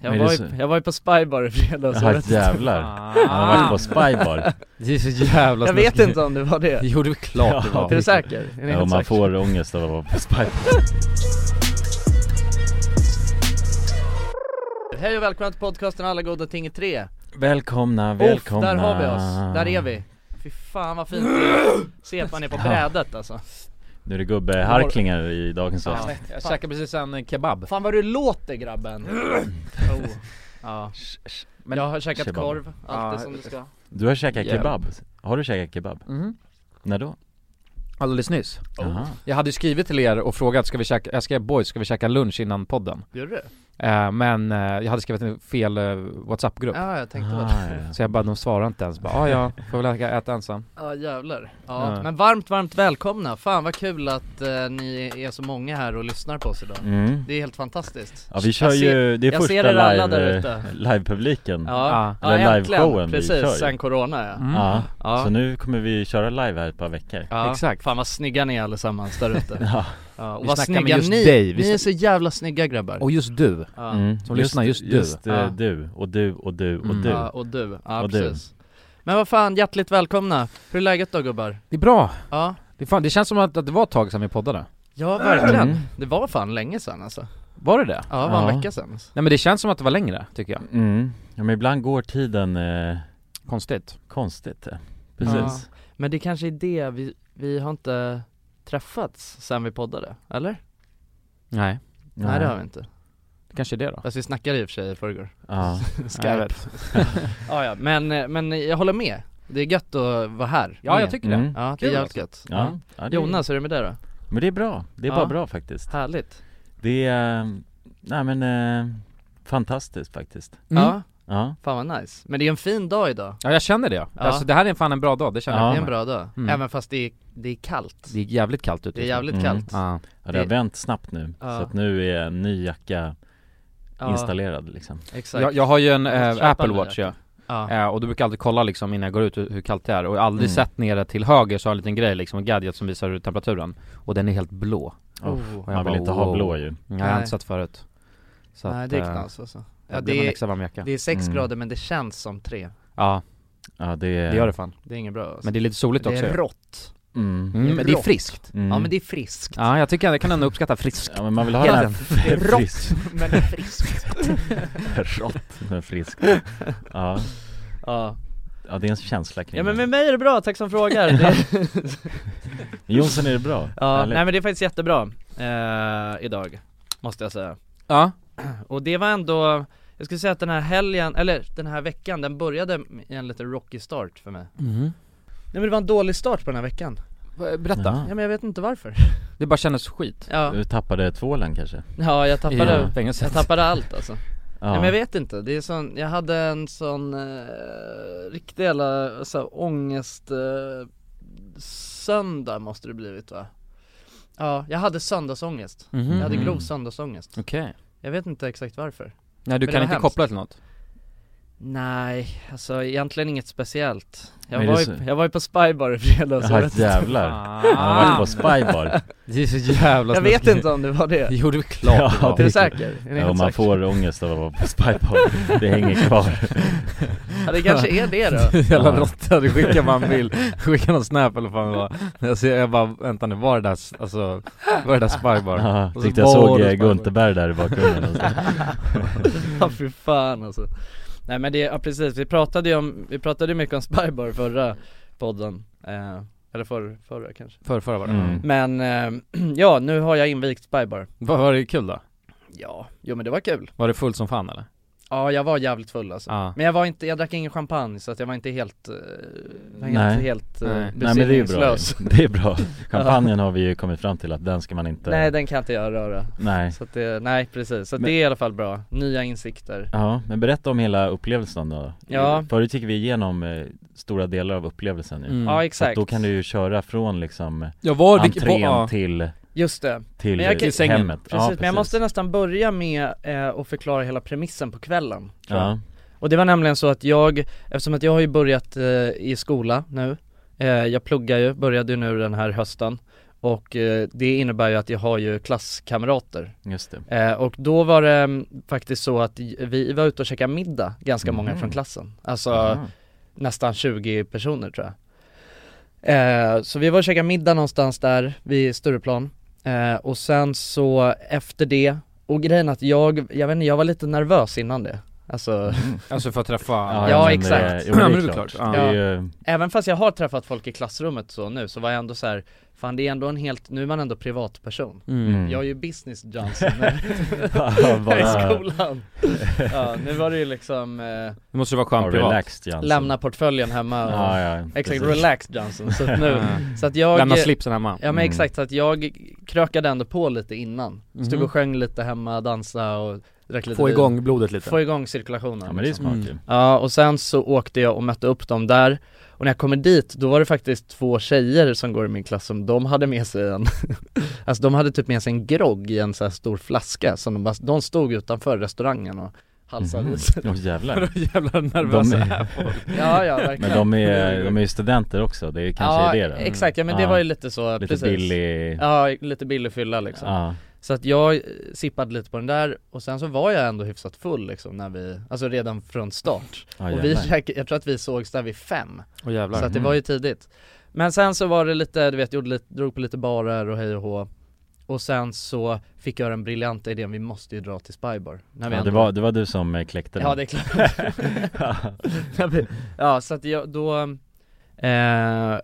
Jag Men var, det är ju, så- jag var ju på Spybar i fredags Jaha Alltså, jag vet- Ah. jävlar, han har varit på spybar Ah. Det är så jävla Jag vet inte om det var det Jo det är klart det Ja. var Är du säker? Är ni ja, helt säker? man får ångest av att vara på spybar Hej och välkomna till podcasten Alla goda ting i tre Välkomna, Off, välkomna där har vi oss, där är vi Fy fan vad fint Sepan är på brädet alltså Nu är det gubbeharklingar i dagens Ja. avsnitt Jag käkade precis en eh, kebab Fan vad du låter grabben oh. ja. Men- Jag har käkat Kebab. korv, allt det Ja. som du ska Du har käkat Jävligt. kebab? Har du käkat kebab? Mm-hmm. Mhm. När Oh, då? Alldeles nyss Jaha, Jag hade ju skrivit till er och frågat, ska vi käka, jag skrev boys, ska vi käka lunch innan podden? Gjorde du? Eh, men eh, jag hade skrivit en fel eh, WhatsApp-grupp Ja jag tänkte ah, väl ja. Så jag bara, de svarar inte ens, bara, ah, ja, får väl äta, äta ensam Ja jävlar ja. Ja. men varmt varmt välkomna, fan vad kul att eh, ni är så många här och lyssnar på oss idag Mm. Det är helt fantastiskt Alltså, ja vi kör Jag ser- ju, det är jag ser första er alla där live, eh, ute. livepubliken ja. Ja, Ja. ja, Eller liveshowen äntligen, vi kör ju. precis, sen corona ja Mm. Ja. så nu kommer vi köra live här ett par veckor Ja, Exakt. Fan vad snygga ni är allesammans där ute Ja, ja, Och Vi vad snackar snygga med just ni, dig. Vi ni är sn- så jävla snygga grabbar Och just du, ja. mm. Som lyssnar, just du. Just eh, Ja. du, och du, och du, och Mm. du Ja, och du, ja Och du. precis Men vad fan, hjärtligt välkomna! Hur är läget då gubbar? det är bra! Ja, Det, är fan, det känns som att, att det var ett tag sedan vi poddade ja verkligen Mm. Det var fan länge sedan alltså Var det det? Ja, det var en Ja. vecka sedan alltså. Nej men det känns som att det var längre, tycker jag Mm. Ja men ibland går tiden eh, Konstigt konstigt eh. Precis Men det kanske är det, vi, vi har inte träffats sen vi poddade, eller? Nej, Nej det har vi inte det kanske är det då Fast vi snackade i och för sig i förrgår Ja, Ja, jag Skype vet. ja, ja, men, eh, men jag håller med Det är gött att vara här Ja, jag med. tycker Mm. det Ja, det Kul är jävligt gött ja. ja det, Jonas, hur är det med dig då? Men det är bra, det är Ja. bara bra faktiskt Härligt Det är, eh, nej men, eh, fantastiskt faktiskt Ja. Ja, Ja, fan vad nice Men det är en fin dag idag Mm. ja, jag känner det ja. Ja. Alltså det här är fan en bra dag, det känner Ja. jag Det är på en mig. bra dag, Mm. även fast det är, det är kallt Det är jävligt kallt Det ute är just nu. jävligt Mm. kallt Ja. ja det har Det- vänt snabbt nu Ja. Så att nu är en ny jacka installerad liksom exakt Jag, jag har ju en Jag ska eh, köpa Apple en ny Watch ja. ja. eh, och du brukar jag alltid kolla liksom innan jag går ut hur, hur kallt det är och jag har aldrig Mm. sett nere till höger så har jag en liten grej liksom, en gadget som visar temperaturen och den är helt blå Oh. Och jag Man vill bara, inte ha wow. blå ju Jag har Nej. inte sett förut så Nej att, det är eh, knas alltså Ja då blir man det är, extra varm jacka det är sex Mm. grader men det känns som tre Ja, Ja det är det gör det fan Det är inget bra alltså. Men det är lite soligt Det också är ju. rått mm. mm, men det är rått. friskt Mm. Ja men det är friskt Ja jag tycker jag kan ändå uppskatta friskt Ja men man vill ha den här Det är frisk- rått men det är friskt rått men frisk ja. ja. ja, det är en känsla kring ja men det. med mig är det bra, tack som frågar det, Jonsson är det bra? Ja, Härligt. nej men det är faktiskt jättebra eh, idag, måste jag säga Ja, Och det var ändå, jag skulle säga att den här helgen, eller den här veckan, den började i en lite rocky start för mig Mhm. Nej men det var en dålig start på den här veckan V- berätta, Jaha. Ja men jag vet inte varför det bara kändes skit Ja, Du tappade tvålen kanske? ja jag tappade, i fängelset jag tappade allt alltså Ja, Nej men jag vet inte, det är sån, jag hade en sån eh, riktig jävla så här, ångest eh, söndag måste det blivit va? Ja, jag hade söndagsångest, Mhm. jag hade Mhm. grov söndagsångest Okej Jag vet inte exakt varför Nej du det kan var inte hemskt. koppla till något? Nej, alltså egentligen inget speciellt Jag, Men var det ju, är så- jag var ju på Spybar i fredags jag Jaha vet inte. jävlar, Ah. han har varit på spybar Det är så jävla Jag vet inte om det var det, Jo det är klart Ja, det var. är du det- säker? Är ni helt Ja, man säker? får ångest av att vara på spybar, det hänger kvar Ja det kanske är det då Jävla Ja. råtta, du skickar man en bild, skickar någon snap eller vad fan det var jag, ser, jag bara, vänta nu, var det där, s- alltså, var det där spybar? Ja, Och så tyckte jag var såg det eh, spybar. Gunterberg där i bakgrunden och så. Ja fy fan alltså Nej men det, ja precis, vi pratade ju om, vi pratade ju mycket om Spybar förra podden eh, Eller förr, förra kanske Förr, förra var det Mm. Men, eh, ja nu har jag invigt Spybar var, var det kul då? Ja, jo men det var kul Var det fullt som fan eller? Ja jag var jävligt full alltså Ja Men jag var inte, jag drack ingen champagne så att jag var inte helt, eh, var Nej. inte helt eh, Nej. Nej men det är ju bra, besinningslös det är bra Champagnen har vi ju kommit fram till att den ska man inte Nej den kan inte jag röra Nej. Så att det, nej precis, så att Men- Mm, det är i alla fall bra, nya insikter Ja, men berätta om hela upplevelsen då Ja. Förut gick vi igenom eh, stora delar av upplevelsen ju Mm. Ja Så att exakt, då kan du ju köra från liksom Ja var det, entrén var, till, just det till Men jag kan- eh, sängen. hemmet Precis, men jag måste nästan börja med eh, att förklara hela premissen på kvällen tror jag. Ja, Och det var nämligen så att jag, eftersom att jag har ju börjat eh, i skola nu eh, Jag pluggar ju, började ju nu den här hösten och eh, det innebär ju att jag har ju klasskamrater Just det. Eh, och då var det mm, faktiskt så att j- vi var ute och käkade middag, ganska många Mhm. från klassen. Alltså Aha. nästan 20 personer tror jag. Eh, så vi var och käkade middag någonstans där vid Stureplan. Eh, och sen så efter det, och grejen att jag, jag vet inte, jag var lite nervös innan det. Alltså, Alltså för att träffa Ja, men det- exakt. Jo, men Ja, det är klart. Det är ju, även fast jag har träffat folk i klassrummet så nu så var jag ändå så här, fan det är ändå en helt, nu är man ändå privatperson. mm. Jag är ju business Johnson när- Ja, bara- i skolan. Ja, nu var det ju liksom eh, Det måste ju vara Ja, skönt privat relaxed Jansson. lämna portföljen hemma och, Ja, ja, exakt, precis. relax Johnson. Så att nu, Mm. så att jag Lämna slipsen hemma Ja men Mm. exakt, så att jag krökade ändå på lite innan Stod Mhm. och sjöng lite hemma, dansade och drack lite Få vin. igång blodet lite Få igång cirkulationen Ja men det är liksom. smart Mm. ju. ja och sen så åkte jag och mötte upp dem där Och när jag kommer dit, då var det faktiskt två tjejer som går i min klass som de hade med sig en Alltså de hade typ med sig en grogg i en så här stor flaska som de bara, de stod utanför restaurangen och halsade i sig Åh Mhm. jävlar. Jävla nervösa De är- här folk Ja ja verkligen Men de är, de är ju studenter också, det är kanske Ja är det då. exakt, ja men det Ja. var ju lite så, Lite precis billig, Ja, lite billig fylla liksom ja. Så att jag eh, sippade lite på den där och sen så var jag ändå hyfsat full liksom när vi, alltså redan från start. ja och vi jävlar. käkade, jag tror att vi sågs där vid fem, Åh jävlar så att det Mm. var ju tidigt. Men sen så var det lite, du vet, gjorde lite, drog på lite barer och hej och hå. Och sen så fick jag den briljanta idén, vi måste ju dra till Spybar. När vi ja, ändå- det, var, det var du som eh, kläckte Ja det är klart. När vi- ja så att jag, då, eh,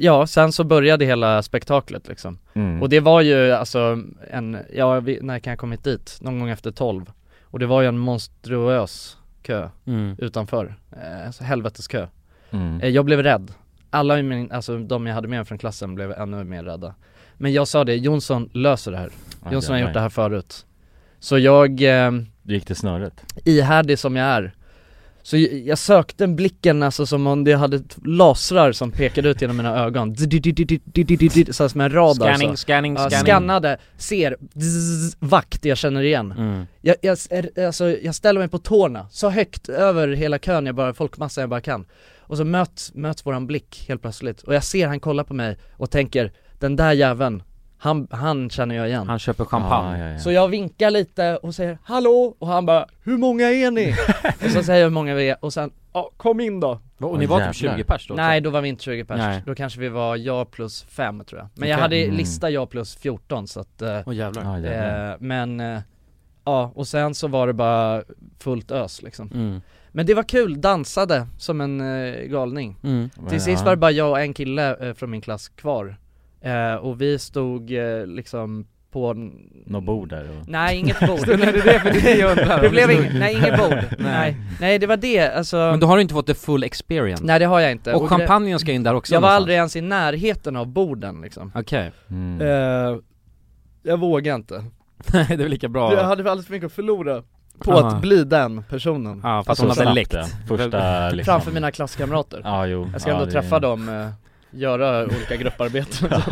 ja sen så började hela spektaklet liksom. mm. Och det var ju alltså en, ja vi, när kan jag kommit dit? Någon gång efter 12 Och det var ju en monstruös kö mm. utanför, eh, alltså helvetes kö mm. eh, Jag blev rädd Alla i min, alltså de jag hade med mig från klassen blev ännu mer rädda Men jag sa det, Jonsson löser det här Ja, Jonsson har jävlar. gjort det här förut Så jag, eh, Du gick till snöret? ihärdig som jag är så j- jag sökte blicken alltså som om det hade t- lasrar som pekade ut genom mina ögon, såhär som en radar så. Scanning, scanning, Ja, scanning skannade, ser, zzz, vakt jag känner igen. Mm. Jag, jag, är- alltså, jag ställer mig på tårna, så högt över hela kön jag bara, folkmassan jag bara kan. Och så möts, möts våran blick helt plötsligt, och jag ser han kollar på mig och tänker, den där jäveln, han, han känner jag igen. Han köper champagne Ja, ja, ja. Så jag vinkar lite och säger 'Hallå' och han bara 'Hur många är ni?' och så säger jag hur många vi är och sen 'Ja, kom in då' Och ni Åh, var typ jävlar. 20 pers då? Nej då var vi inte 20 Nej. pers, då kanske vi var jag plus 5 tror jag Men jag Okej. hade Mm. lista jag plus 14 så att eh, Åh jävlar Ja, jävlar. Eh, men, eh, ja och sen så var det bara fullt ös liksom mm. Men det var kul, dansade som en eh, galning Mm. Till sist var det bara jag och en kille eh, från min klass kvar eh, Och vi stod eh, liksom på en... Något bord där och... Nej inget bord Det, det det för det jag undrar? blev inget, nej inget bord, nej, nej det var det alltså Men då har du inte fått the full experience Nej det har jag inte Och det- champagnen ska in där också Jag var någonstans. aldrig ens i närheten av borden liksom Okej, Mm. eh, Jag vågar inte Nej, det är väl lika bra Jag hade alldeles för mycket att förlora på Ah. att bli den personen Ja, fast Alltså, hon har snabbt, select ja. Första liksom... framför mina klasskamrater Ja jo Jag ska ja, ändå det- träffa dem, eh, göra olika grupparbeten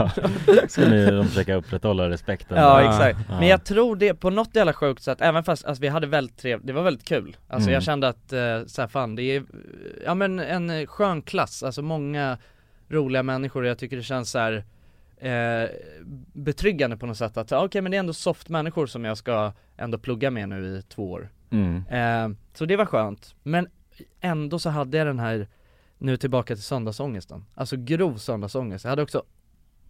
Ja. Ska ni de försöka upprätthålla respekten? Ja där? exakt, Ja. men jag tror det på något jävla sjukt sätt, även fast alltså, vi hade väldigt trevligt, det var väldigt kul Alltså Mm. jag kände att, eh, så här, fan det är, eh, ja men en eh, skön klass, alltså många roliga människor och jag tycker det känns så här eh, betryggande på något sätt att, ja, okej men det är ändå soft människor som jag ska ändå plugga med nu i två år Mm. Eh, så det var skönt, men ändå så hade jag den här, nu tillbaka till söndagsångesten, alltså grov söndagsångest. Jag hade också,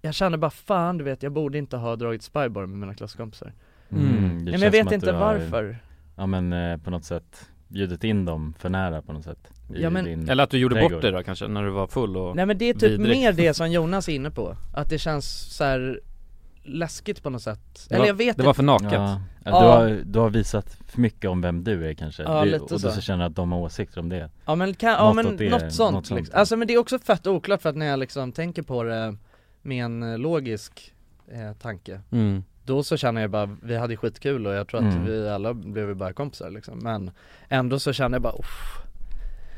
jag kände bara fan du vet jag borde inte ha dragit spybar med mina klasskompisar. Mm. Mm. Det Nej men känns jag som vet att inte du har- varför. Ja men eh, på något sätt bjudit in dem för nära på något sätt i Ja, men- din... Eller att du gjorde Trädgård. bort det då kanske, när du var full och Nej men det är typ Vidrigt. mer det som Jonas är inne på, att det känns så här läskigt på något sätt. Det Eller var- jag vet Det var inte. för naket Ja, du, Ja. har, du har visat för mycket om vem du är kanske Ja, det, lite Och då så. så. känner jag att de har åsikter om det Ja men, kan, ja, något men åt det- något sånt, något sånt. Liksom. Alltså men det är också fett oklart för att när jag liksom tänker på det med en eh, logisk eh, tanke mm. då så känner jag bara, vi hade skitkul och jag tror att Mm. vi alla blev ju bara kompisar liksom Men ändå så känner jag bara, uff,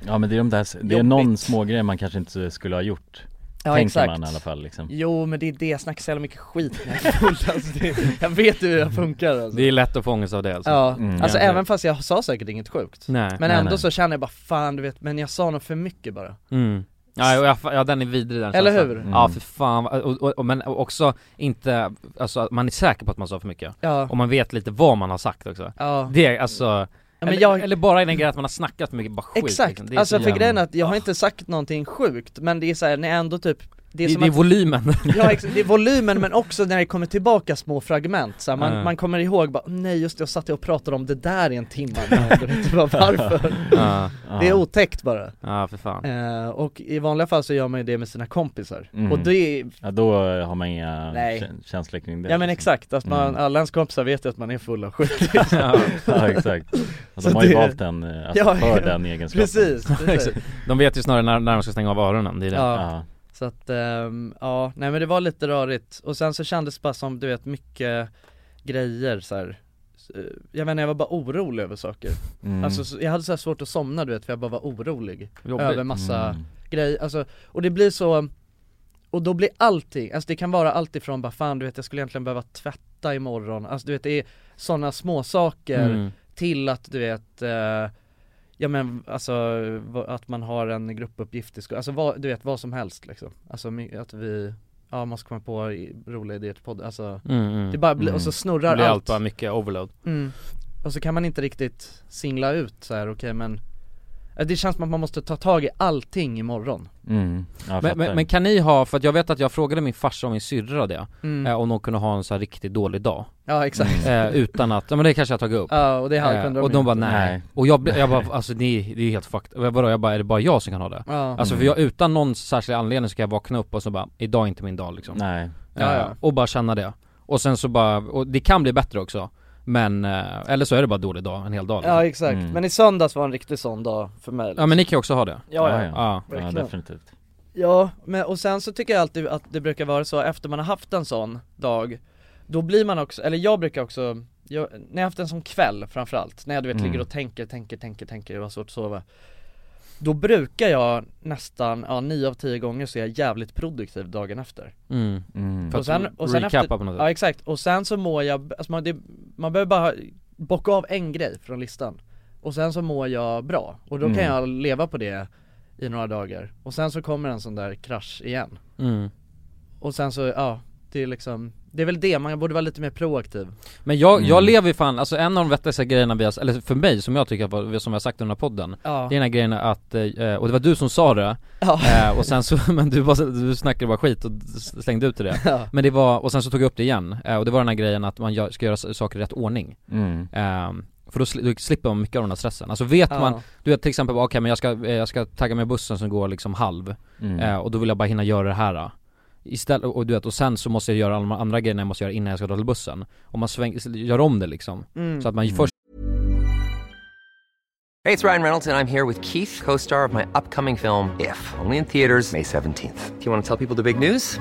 Ja men det är de där, det är Jobbigt. någon smågrej man kanske inte skulle ha gjort ja Tänker exakt man i alla fall liksom Jo men det är det, jag snackar så jävla mycket skit när jag är full alltså, det, Jag vet hur jag funkar alltså Det är lätt att få ångest av det alltså Ja, Mm, alltså ja. även fast jag sa säkert inget sjukt Nej Men Nej, ändå nej. så känner jag bara, fan du vet, men jag sa nog för mycket bara mm. Ja, och jag, fa- ja den är vidrig den Eller känslan. hur? Mm. Ja för fan, och, och, och, men också inte, alltså att man är säker på att man sa för mycket Ja, Och man vet lite vad man har sagt också ja Det är alltså, Ja, men eller, jag, eller bara i den grejen att man har snackat för mycket, bara skit exakt, liksom. Det är alltså så för jävla- grejen är att jag har inte sagt någonting sjukt, men det är såhär, när jag ändå typ Det det är, är, det, som är att, volymen ja, ex- det är volymen men också när det kommer tillbaka små fragment så här, man, Ja. man kommer ihåg bara, nej just det, jag satt och pratade om det där i en timme, men jag vet inte bara varför? Ja, Det är otäckt bara ja för fan Eh, och i vanliga fall så gör man ju det med sina kompisar Mm. Och det är, Ja då har man inga Nej. kä- känslor kring det ja men liksom. exakt, att man, Mm. alla ens kompisar vet ju att man är full av skit Ja, Ja exakt, och de Så har ju det- valt den, eh, alltså Ja, för ja. den egenskapen Precis, precis. Exakt. De vet ju snarare när, när de ska stänga av öronen, det är det Ja, Ja, så att, ehm, ja, nej men det var lite rörigt och sen så kändes det bara som du vet mycket grejer så här. S- eh, Jag menar jag var bara orolig över saker, mm. alltså så- jag hade så här svårt att somna du vet för jag bara var orolig Jobbigt. över massa Mm. grej, alltså, och det blir så och då blir allting, alltså det kan vara allt ifrån bara fan du vet jag skulle egentligen behöva tvätta imorgon, alltså du vet det är sådana små saker Mm. till att du vet eh, Ja men alltså va- att man har en gruppuppgift i skolan, alltså vad, du vet vad som helst liksom Alltså my- att vi, ja man ska komma på i- roliga idéer till podden, alltså Mm, mm. Det bara blir, Mm. och så Det snurrar blir allt allt, bara mycket overload mm. Och så kan man inte riktigt singla ut så här. okej men eh, Det känns som att man måste ta tag i allting imorgon Mm. Ja, men, men, men kan ni ha, för att jag vet att jag frågade min farsa och min syrra det, mm. eh, om de kunde ha en så här riktigt dålig dag Ja exakt eh, Utan att, ja men det kanske jag tagit upp Ja och det hade Eh, kunde och de bara nej. Nej. och jag, blev- jag bara alltså ni, det är ju helt fucked, Och jag bara, jag bara är det bara jag som kan ha det? Ja, Alltså för Mm. jag, utan någon särskild anledning så kan jag vakna upp och så bara, idag är inte min dag liksom Nej, Ja, Eh, ja. Och bara känna det, och sen så bara, och det kan bli bättre också Men, eh, eller så är det bara dålig dag, en hel dag liksom. ja exakt, Mm. men i söndags var en riktig sån dag för mig liksom. Ja men ni kan ju också ha det ja, ja. ja. Ja, ja Verkligen. definitivt Ja, men och sen så tycker jag alltid att det brukar vara så efter man har haft en sån dag Då blir man också, eller jag brukar också, jag, när jag har haft en sån kväll framförallt När jag du vet Mm. ligger och tänker, tänker, tänker, tänker och har svårt att sova Då brukar jag nästan, ja nio av tio gånger så är jag jävligt produktiv dagen efter mm. mm. För Och sen- att och sen recapa efter- på något sätt Ja exakt, och sen så mår jag, alltså man, det, man behöver bara bocka av en grej från listan Och sen så mår jag bra, och då kan Mm. jag leva på det i några dagar Och sen så kommer en sån där krasch igen mm. Och sen så, ja, det är liksom Det är väl det, man borde vara lite mer proaktiv Men jag, jag Mm. lever ju fan, alltså en av de vettigaste grejerna vi har, eller för mig som jag tycker, var- som jag har sagt under den här podden Ja, Det är den här grejen att, eh, och det var du som sa det, ja, eh, och sen så, men du, bara, du snackade bara skit och slängde ut det ja, Men det var, och sen så tog jag upp det igen, eh, och det var den här grejen att man gör, ska göra s- saker i rätt ordning Mm. eh, För då, sli- då slipper man mycket av den här stressen, alltså vet man, ja, du vet till exempel, bara, okej men jag ska, eh, jag ska tagga med bussen som går liksom halv, Mm. eh, och då vill jag bara hinna göra det här eh. Istället, och du vet, och sen så måste jag göra alla de andra grejerna jag måste göra innan jag ska ta till bussen Och man svänger, gör om det liksom, mm. så att man Mm. först Hey, it's Ryan Reynolds, and I'm here with Keith, co star of my upcoming film, If, only in theaters, May 17th. Do you want to tell people the big news?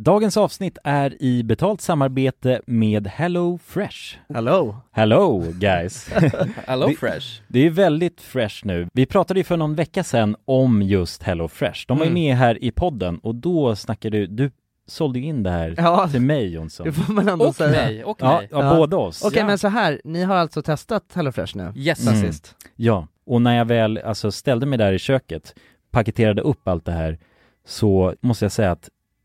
Dagens avsnitt är i betalt samarbete med Hello Fresh. Hello! Hello guys! Hello Det- Fresh Det är väldigt fresh nu. Vi pratade ju för någon vecka sedan om just Hello Fresh. De var ju Mm. med här i podden och då snackade du, du sålde ju in det här Ja. till mig Jonsson. Det får man ändå Och säga. mig, och Ja, mig ja, Ja. båda oss. Okej men så här, ni har alltså testat HelloFresh nu? Yes Mm. Sist. Ja, och när jag väl alltså, ställde mig där i köket, paketerade upp allt det här, så måste jag säga att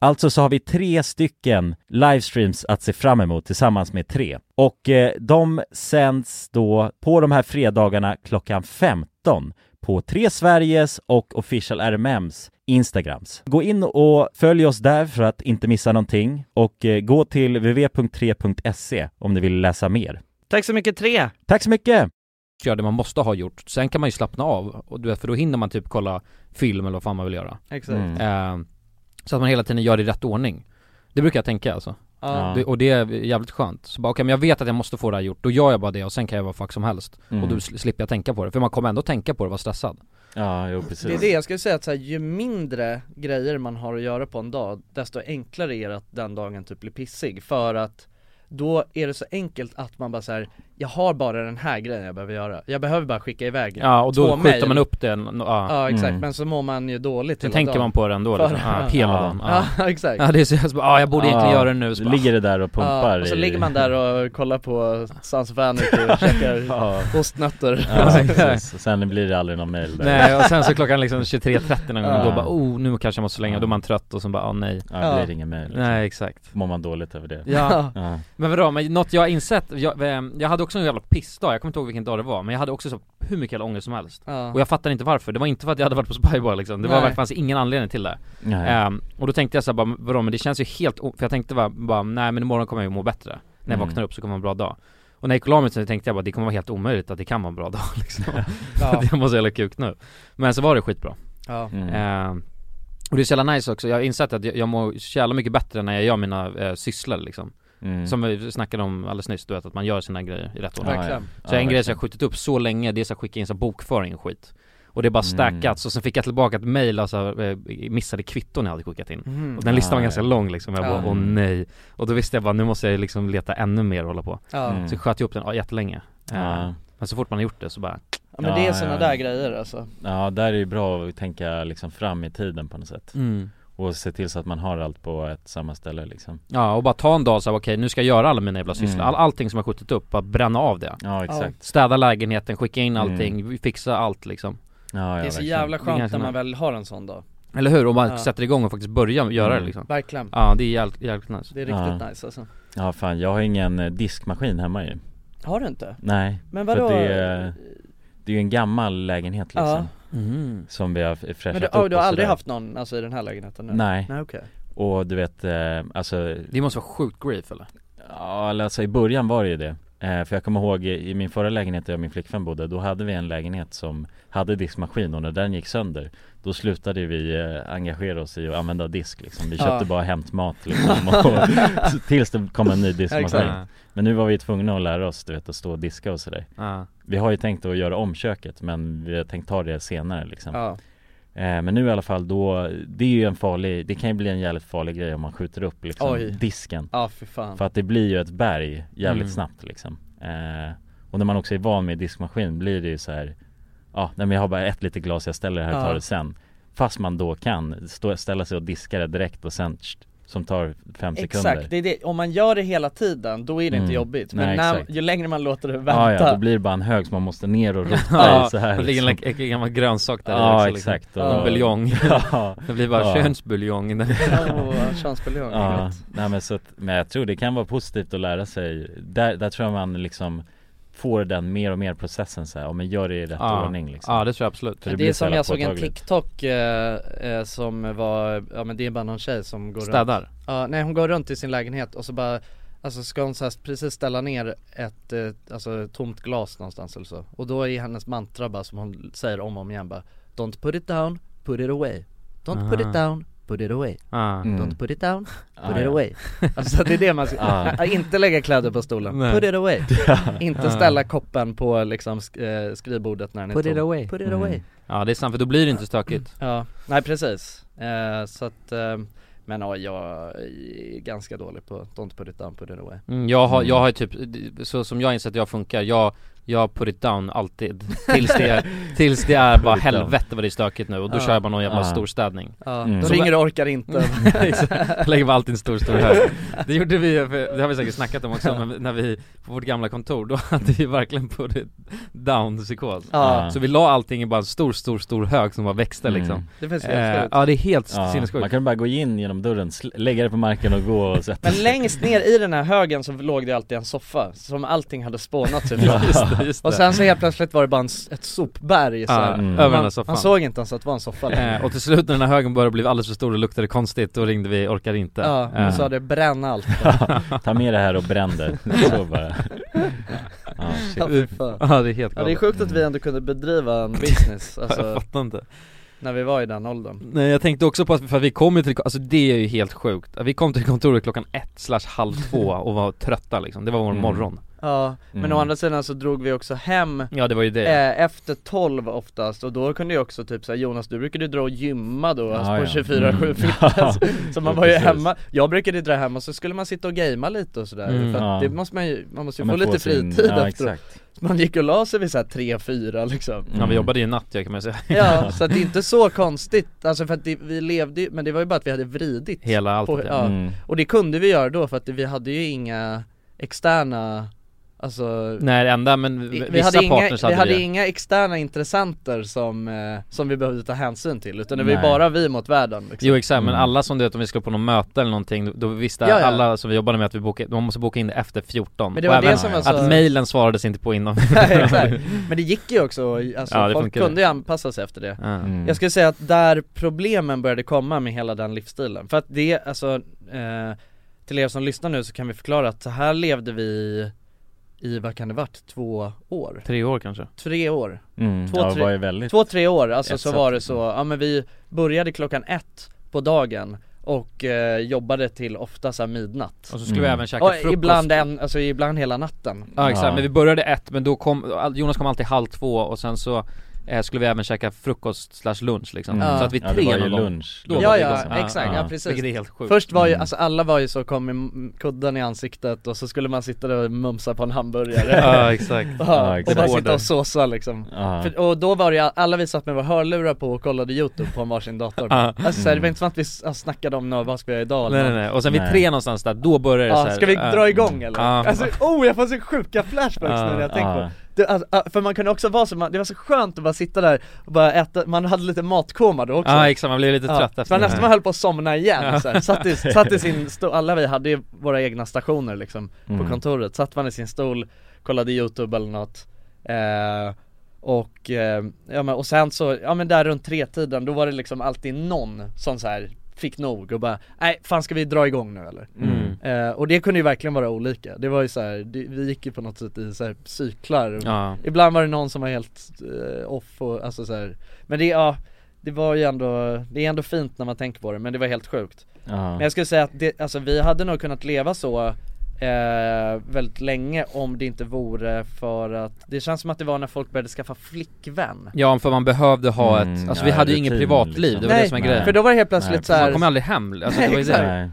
Alltså så har vi tre stycken livestreams att se fram emot tillsammans med tre. Och eh, de sänds då på de här fredagarna klockan 15 på Tre Sveriges och Official RMMs Instagrams. Gå in och följ oss där för att inte missa någonting och eh, gå till www.3.se E om ni vill läsa mer. Tack så mycket tre! Tack så mycket! göra det man måste ha gjort. Sen kan man ju slappna av, och du vet, för då hinner man typ kolla film eller vad fan man vill göra. Exakt. Mm. Eh, så att man hela tiden gör det i rätt ordning. Det brukar jag tänka alltså. Ja. Det, och det är jävligt skönt. Så bara, okej men jag vet att jag måste få det här gjort, då gör jag bara det och sen kan jag vara fuck som helst. Mm. Och då sl- slipper jag tänka på det, för man kommer ändå tänka på det och vara stressad. Ja, jo precis. Det är det, jag skulle säga att så här, ju mindre grejer man har att göra på en dag, desto enklare är det att den dagen typ blir pissig för att då är det så enkelt att man bara så här, jag har bara den här grejen jag behöver göra, jag behöver bara skicka iväg Ja och två då skjuter mejl. man upp det, no, ja. Ja exakt, Mm. men så mår man ju dåligt Sen hela tänker dagen. man på det ändå liksom. För- ja, hela Ja. dagen. Ja. Ja exakt ja det är så, jag, så bara, ja, jag borde egentligen Ja. göra det nu. Så bara, Ligger det där och pumpar Ja, och så i- ligger man där och kollar på Sons of Anarchy och käkar Ja, ostnötter ja precis. Och Sen blir det aldrig någon mail där. Nej och sen så klockan liksom 23.30 någon gång, Ja. då bara oh nu kanske jag måste slänga, då är man trött och så bara, ah nej. Ja, det blir ingen mail. Nej exakt. Mår man dåligt över det. Ja, Ja. Men vadå, men något jag har insett, jag, eh, jag hade också en jävla pissdag, jag kommer inte ihåg vilken dag det var, men jag hade också så hur mycket jävla ångest som helst Ja. Och jag fattar inte varför, det var inte för att jag hade varit på Spybar liksom, det var Nej. verkligen fanns ingen anledning till det Nej. Ehm, Och då tänkte jag såhär bara, vadå men det känns ju helt, o- för jag tänkte bara, bara nej men imorgon kommer jag ju må bättre När jag Mm. vaknar upp så kommer det vara en bra dag Och när jag gick och la mig så tänkte jag bara, det kommer vara helt omöjligt att det kan vara en bra dag liksom Ja. Jag måste jävla kuk nu Men så var det skitbra Ja. Mm. Ehm, Och det är så jävla nice också, jag har insett att jag, jag mår så jävla mycket bättre när jag gör mina eh, sysslor liksom Mm. som vi snackade om alldeles nyss, du vet att man gör sina grejer i rätt Ja, ordning ja. verkligen. Ja, Så en grej som verkligen. jag skjutit upp så länge, det är så att skicka in så här bokföring och skit Och det är bara Mm. stackats och sen fick jag tillbaka ett mail, alltså eh, missade kvitton jag hade skickat in Mhm. Och den listan var Mm. Ja, ganska ja. lång liksom, jag bara Ja. åh nej Och då visste jag bara, nu måste jag liksom leta ännu mer och hålla på Ja. Mm. Så sköt jag upp den ja, jättelänge Eh, Ja. Men så fort man har gjort det så bara, ja men det är Ja, såna ja. där grejer alltså ja, där är det ju bra att tänka liksom fram i tiden på något sätt. Och se till så att man har allt på ett samma ställe liksom. ja och bara ta en dag så här, okej nu ska jag göra alla mina jävla sysslor, Mm. All, allting som jag skjutit upp, bara bränna av det Ja, exakt. Städa lägenheten, skicka Mm. in allting, fixa allt liksom Ja, ja, Det är så verkligen. jävla Det är skönt ganska när man nice. väl har en sån dag Eller hur? Om man Ja. sätter igång och faktiskt börjar göra Mm. det liksom Verkligen, Ja det är jävligt, jävligt nice det är riktigt Ja. nice alltså Ja, fan jag har ingen eh, diskmaskin hemma ju. Har du inte? Nej. Men för att vadå? Det eh, är, det är ju en gammal lägenhet liksom. Ja. mm. Som vi har fräschat Men du, upp oh, du har och aldrig sådär. haft någon alltså i den här lägenheten? nu? Nej, Nej okej och du vet, eh, alltså Det måste vara sjukt grief eller? Ja, eller alltså i början var det ju det. Eh, för jag kommer ihåg i i min förra lägenhet där jag och min flickvän bodde, då hade vi en lägenhet som hade diskmaskin och när den gick sönder då slutade vi eh, engagera oss i att använda disk liksom. Vi Ja. köpte bara hämtmat liksom och, tills det kom en ny diskmaskin. Ja. Men nu var vi tvungna att lära oss du vet att stå och diska och sådär. Ja. Vi har ju tänkt att göra om köket men vi har tänkt ta det senare liksom. Ja, Eh, Men nu i alla fall då, det är ju en farlig, det kan ju bli en jävligt farlig grej om man skjuter upp liksom Oj. disken. ja för fan För att det blir ju ett berg jävligt Mm. snabbt liksom eh, Och när man också är van med diskmaskin blir det ju så här Ja, nej men jag har bara ett litet glas, jag ställer det här och tar Ja. det sen Fast man då kan stå, ställa sig och diska det direkt och sen tsch, Som tar fem sekunder Exakt, det är det. om man gör det hela tiden då är det Mm. inte jobbigt Men Nej, när, exakt. ju längre man låter det vänta Ja, ja, då blir det bara en hög som man måste ner och rota i så här det ligger en liksom. like- en gammal grönsak där i Ja, också, liksom. exakt Ja. Någon buljong Ja, Det blir bara Ja. könsbuljong där. Åh, chansbuljong, ja. ja. Nej, men, så att, men jag tror det kan vara positivt att lära sig Där, där tror jag man liksom Får den mer och mer processen så här, ja men gör det i rätt Ja. ordning liksom Ja det tror jag absolut För det, blir är så som jävla jag såg en påtagligt. TikTok eh, eh, som var, ja men det är bara någon tjej som går runt Städar Ja, nej hon går runt i sin lägenhet och så bara Alltså ska hon så här precis ställa ner ett, eh, alltså ett tomt glas någonstans eller så Och då är hennes mantra bara som hon säger om och om igen bara Don't put it down, put it away Don't put Ah. it down, put it away Ja. Mm. Don't put it down, put Ah, it ja. away Alltså det är det man ska, Ah. Äh, inte lägga kläder på stolen, Nej. put it away Inte ställa koppen på liksom sk- eh, skrivbordet när den är Put tom. it away. Put it Mm. away Ja det är sant för då blir det inte stökigt Ja, nej precis. Eh, så att, eh, men ja, jag är ganska dålig på don't put it down, put it away. mm, Jag har, Mm. jag har ju typ, så som jag inser att jag funkar, jag Jag put it down alltid Tills det är, tills det är bara Put it down. helvete vad det är stökigt nu och då Ja. kör jag bara någon jävla Ja. storstädning Ja, Mm. då Så- ringer du orkar Mm. inte Exakt. Lägger bara allt i en stor stor hög Det gjorde vi, ju, för det har vi säkert snackat om också, men när vi, på vårt gamla kontor, då hade vi verkligen put it down psykos Ja, Så vi la allting i bara en stor stor stor hög som bara växte liksom det finns eh, helt sjukt Ja det är helt Mm. Ja, man sinnessjukt kan bara gå in genom dörren, sl- lägga det på marken och gå och sätta Men längst ner i den här högen så låg det alltid en soffa som allting hade spånats ifrån Ja. Just det, just det Och sen så helt plötsligt var det bara en, s- ett sopberg så Ja, här. Mm. över den man, där man soffan såg inte ens att det var en soffa längre Eh, och till slut när den här högen började bli alldeles för stor och luktade konstigt, då ringde vi orkar inte Ja, Eh, och så hade det bränna allt Ta med det här och bränn det, så bara ja, shit. Ja, fy fan. Ja det är helt Ja det är galet sjukt att vi ändå kunde bedriva en business, Jag alltså fattar inte när vi var i den åldern Nej jag tänkte också på att, för vi kom ju till, alltså det är ju helt sjukt Vi kom till kontoret klockan ett slash halv två och var trötta liksom, det var vår Mm. morgon Ja, men Mm. å andra sidan så drog vi också hem Ja det var ju det Eh, efter 12 oftast och då kunde jag också typ såhär Jonas du brukade ju dra och gymma då alltså, Ja, på ja. 24-7 Mm. fitness Så man Ja, var ju precis. hemma, jag brukade ju dra hem och så skulle man sitta och gamea lite och sådär Mm. för att det Ja. måste man ju, man måste Ja, ju men få lite sin- fritid ja, efteråt exakt. Mm. Så Man gick och la sig vid såhär 3-4 liksom Ja vi jobbade ju natt jag kan man säga Ja, så att det är inte så konstigt, alltså för att det, vi levde ju, men det var ju bara att vi hade vridit Hela allt på, ja. ja. Mm. Och det kunde vi göra då för att vi hade ju inga externa, alltså Nej det enda men vi, vissa vi hade, inga, partners vi hade hade vi inga externa intressenter som, eh, som vi behövde ta hänsyn till utan det var ju Nej. bara vi mot världen liksom. Jo exakt, men Mm. alla som du vet om vi skulle på något möte eller någonting, då- då visste Ja, ja. alla som vi jobbade med att vi bokade, man måste boka in det efter 14 Men det var Och det även som var att så... Att mejlen svarades inte på innan Nej, exakt. Men det gick ju också, alltså, Ja, det folk funkade. kunde ju anpassa sig efter det Ja. Mm. Jag skulle säga att där problemen började komma med hela den livsstilen, för att det, alltså eh, Till er som lyssnar nu så kan vi förklara att så här levde vi i, vad kan det varit, två år? Tre år kanske Tre år? Mm. Två, ja, det tre- var ju väldigt Två, tre år, alltså så Etsat. var det så, ja men vi började klockan ett på dagen och eh, jobbade till ofta såhär midnatt Och så skulle vi Mm. även käka och frukost ibland, en, alltså ibland hela natten Ja exakt, Ja. men vi började ett men då kom, Jonas kom alltid halv två och sen så eh, skulle vi även käka frukost slash lunch liksom Ja. Så att vi Mm. ja, tre det var liksom- ju någon gång- lunch Då var Ja vi ja, igång. exakt, ja, precis Vilket är helt sjukt Först var ju, Mm. alltså alla var ju så, kom med m- kudden i ansiktet och så skulle man sitta där och mumsa på en hamburgare Ja exakt Ja, Ja, och exakt. bara sitta och såsa liksom Ja. För, och då var det ju, alla vi satt med våra hörlurar på och kollade youtube på en varsin dator Ja. Mm. Alltså så här, det var inte som att vi s- alltså, snackade om nå, vad ska vi göra idag eller Nej nej något. nej, och sen vid Nej. tre någonstans där, då började det så Ja, här, ska vi eh, dra igång eller? Ja. Alltså oh jag får så sjuka flashbacks nu när jag Ja. tänker på det. det alltså, ah, För man kunde också vara så, man, det var så skönt att bara sitta där och bara äta, man hade lite matkoma då också Ja exakt, man blev lite Ja, trött så efter man det nästan man höll på att somna igen så här. Satt, i, satt i sin stol, alla vi hade ju våra egna stationer liksom på Mm. kontoret Satt man i sin stol, kollade youtube eller något eh, Och, eh, ja, men, och sen så, ja men där runt tretiden då var det liksom alltid någon som så här fick nog och bara nej fan ska vi dra igång nu eller? Mm. Eh, och det kunde ju verkligen vara olika, det var ju så här, det, vi gick ju på något sätt i så här cyklar Ja, Ibland var det någon som var helt eh, off och alltså så här. Men det, ja, det var ju ändå, det är ändå fint när man tänker på det men det var helt sjukt Ja. Men jag skulle säga att det, alltså vi hade nog kunnat leva så eh, väldigt länge om det inte vore för att det känns som att det var när folk började skaffa flickvän ja för man behövde ha ett, Mm, alltså ja, vi hade ju inget rutin, privatliv, liksom. det var det Nej, som är grejen För då var det helt plötsligt Nej, så här. Man kom aldrig hem, alltså det var Nej, ju det exakt. Nej.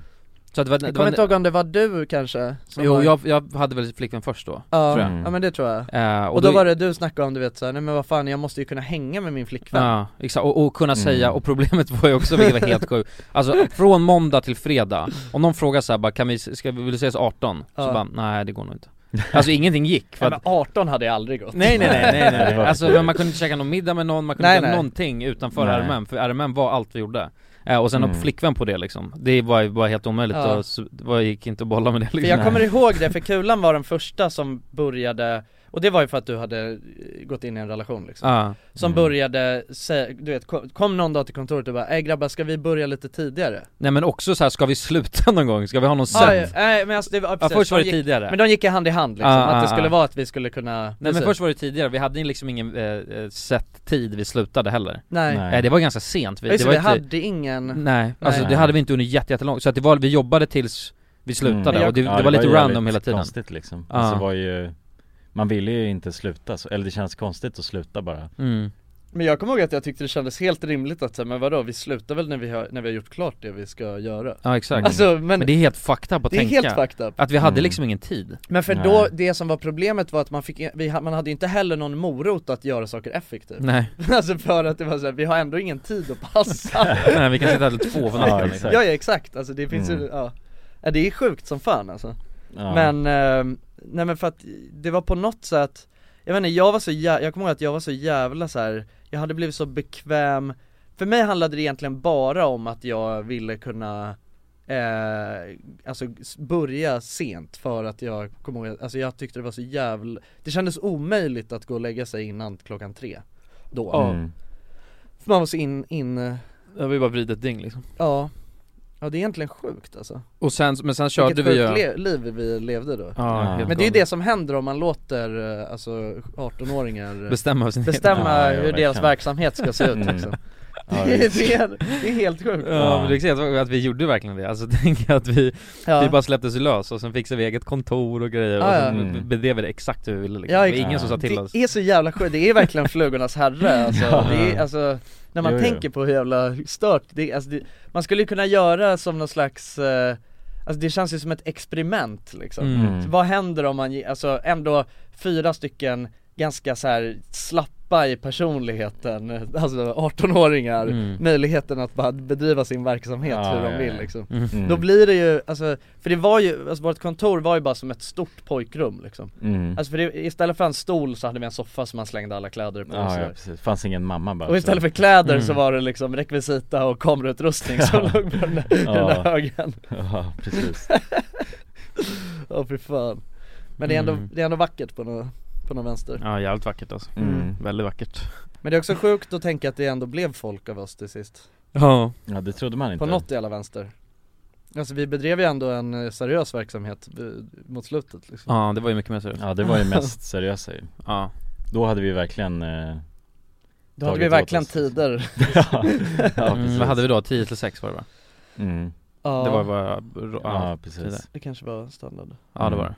Så att det var, det jag var kommer inte ihåg om det var du kanske? som Jo var- jag, jag hade väl flickvän först då ja, tror jag. ja men det tror jag Eh, och, då, var det du snackade om du vet såhär, nej men vad fan jag måste ju kunna hänga med min flickvän Ja, exakt, och, och kunna Mm. säga, och problemet var ju också, vilket var helt sjukt Alltså från måndag till fredag, om någon frågar såhär bara, kan vi, ska vi, vill du ses 18? Så Ja. bara, nej det går nog inte Alltså ingenting gick för Nej, att men 18 hade jag aldrig gått Nej nej nej nej, Nej, nej. det var- alltså men man kunde inte käka någon middag med någon, man kunde Nej, inte göra nej. någonting utanför Nej. RMM, för RMM var allt vi gjorde Eh, och sen Mm. ha flickvän på det liksom, det var ju bara helt omöjligt Ja. och så, det var, gick inte att bolla med det liksom För jag Nej. kommer ihåg det, för Kulan var den första som började och det var ju för att du hade eh, gått in i en relation liksom Ja, Som Mm. började, sä- du vet, kom- kom någon dag till kontoret och bara Ey grabbar ska vi börja lite tidigare?' nej men också så här, ska vi sluta någon gång? Ska vi ha någon Ja, sömn? ja, Nej men alltså det var ja, precis, först var de det gick, tidigare Men de gick i hand i hand liksom, Ah, att det ah, skulle ah. vara att vi skulle kunna Nej men precis. först var det tidigare, vi hade liksom ingen eh, eh, sett tid vi slutade heller Nej, Nej. Eh, Det var ganska sent, Ja, just det det, var vi inte- hade ingen Nej, alltså Nej. det hade vi inte under jätte- jättelångt, så att det var, vi jobbade tills vi slutade Mm. och det, Ja, det var lite ju random jävligt hela tiden konstigt liksom Ja. alltså, det var ju Man ville ju inte sluta så, eller det känns konstigt att sluta bara mm. Men jag kommer ihåg att jag tyckte det kändes helt rimligt att säga, men vadå, vi slutar väl när vi har, när vi har gjort klart det vi ska göra Ja exakt, Alltså men, Mm. men det är helt fucked up att det är tänka helt fucked up Att vi hade Mm. liksom ingen tid Men för Nej. då, det som var problemet var att man fick, vi, ha- man hade ju inte heller någon morot att göra saker effektivt Nej, Alltså för att det var såhär, vi har ändå ingen tid att passa nej vi kan sitta här till två på Ja, natten exakt. liksom. Ja ja exakt, alltså det finns ju, Mm. ja. ja Det är sjukt som fan alltså Ja. Men, eh, nej men för att det var på något sätt Jag vet inte, jag var så jä- jag kommer ihåg att jag var så jävla så här. jag hade blivit så bekväm För mig handlade det egentligen bara om att jag ville kunna Eh, alltså s- börja sent för att jag kommer ihåg, alltså jag tyckte det var så jävla Det kändes omöjligt att gå och lägga sig innan klockan tre Då, Mm. för man var så in, in, eh, Jag vill bara vrida ett dygn liksom ja Ja det är egentligen sjukt alltså Och sen, men sen körde Vilket vi eh, sjukt ju le- liv vi levde då Ja, Ja. helt Men det är ju galet. det som händer om man låter eh, alltså 18-åringar eh, Bestämma sin bestämma Ja, ja, hur verkligen. deras verksamhet ska se ut Mm. liksom. Ja, det, visst. är, det är helt sjukt Ja men det är exakt att vi gjorde verkligen det, alltså tänk att vi, vi bara släpptes lös och sen fixade vi eget kontor och grejer Ja, och sen ja. mm. bedrev vi det exakt hur vi ville liksom. Ja, Det var exakt. ingen som sa till det oss är så jävla sjukt, det är verkligen flugornas herre alltså. Ja. det är, alltså när man Jo, jo. tänker på hur jävla stört det är, alltså, det, man skulle ju kunna göra som någon slags, eh, alltså det känns ju som ett experiment liksom Mm. Så Vad händer om man, ge- alltså ändå fyra stycken ganska så här slappa i personligheten, alltså 18-åringar, Mm. möjligheten att bara bedriva sin verksamhet Ja, hur de ja, vill ja. liksom Mm. Då blir det ju, alltså, för det var ju, alltså vårt kontor var ju bara som ett stort pojkrum liksom Mm. Alltså för det, istället för en stol så hade vi en soffa som man slängde alla kläder på och Ja, sådär. ja precis, fanns ingen mamma bara Och istället för kläder så var det liksom rekvisita och kamerautrustning som Ja. låg på den där, den där Ja. högen Ja, precis Åh fy fan Men det är, ändå, Mm. det är ändå vackert på någon, på någon vänster Ja jävligt vackert alltså, mm. väldigt vackert Men det är också sjukt att tänka att det ändå blev folk av oss till sist Ja, Ja det trodde man inte På något jävla vänster Alltså vi bedrev ju ändå en eh, seriös verksamhet eh, mot slutet liksom ja det var ju mycket mer seriöst Ja det var ju mest seriösa ju Ja, Då hade vi verkligen eh, Då hade tagit vi åt verkligen oss. tider ja, ja Mm, precis vad hade vi då? 10 till 6 var det va? Mm. Ja, Det var bara, ja, Ja precis det kanske var standard ja det var det,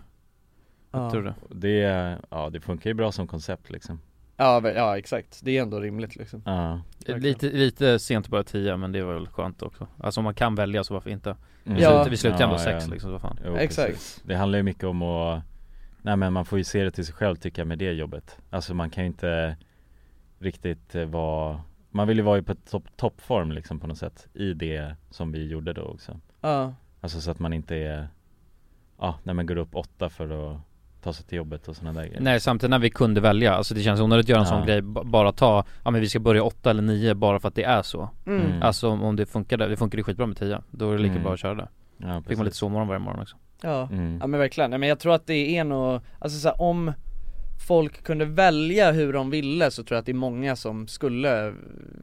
Ja, tror du? Det, ja det funkar ju bra som koncept liksom ja, men- ja exakt, det är ändå rimligt liksom Ja Verkligen. Lite, lite sent att börja 10 men det var väl skönt också Alltså om man kan välja så varför inte? Mm. Vi, Ja. slutade, vi slutade ändå Ja, 6 ja. liksom, så vad fan Jo, Exakt. precis. Det handlar ju mycket om att Nej men man får ju se det till sig själv tycker jag med det jobbet Alltså man kan ju inte riktigt eh, vara Man vill ju vara i på topp- toppform liksom på något sätt I det som vi gjorde då också Ja, Alltså så att man inte är Ja, när man går upp åtta för att ta sig till jobbet och sådana där grejer Nej samtidigt när vi kunde välja, alltså det känns onödigt att göra en Ja. sån grej, B- bara ta, ja men vi ska börja 8 eller 9 bara för att det är så mm. Mm. Alltså om om det funkar där, det funkar ju skitbra med 10 Då är det lika Mm. bra att köra det ja, Fick man lite precis. sovmorgon varje morgon också ja mm. Ja men verkligen, Nej, men jag tror att det är nog, alltså så här, om folk kunde välja hur de ville så tror jag att det är många som skulle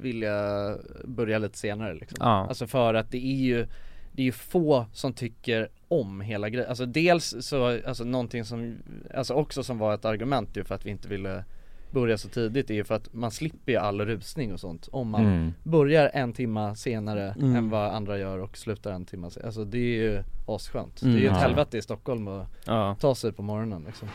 vilja börja lite senare liksom. Ja, Alltså för att det är ju, det är ju få som tycker om hela grejen. Alltså dels så, alltså någonting som, alltså också som var ett argument ju för att vi inte ville börja så tidigt är ju för att man slipper ju all rusning och sånt om man Mm. börjar en timma senare Mm. än vad andra gör och slutar en timma senare. Alltså det är ju asskönt. Det är ju Mm, ett ja. helvete i Stockholm att ja ta sig på morgonen liksom.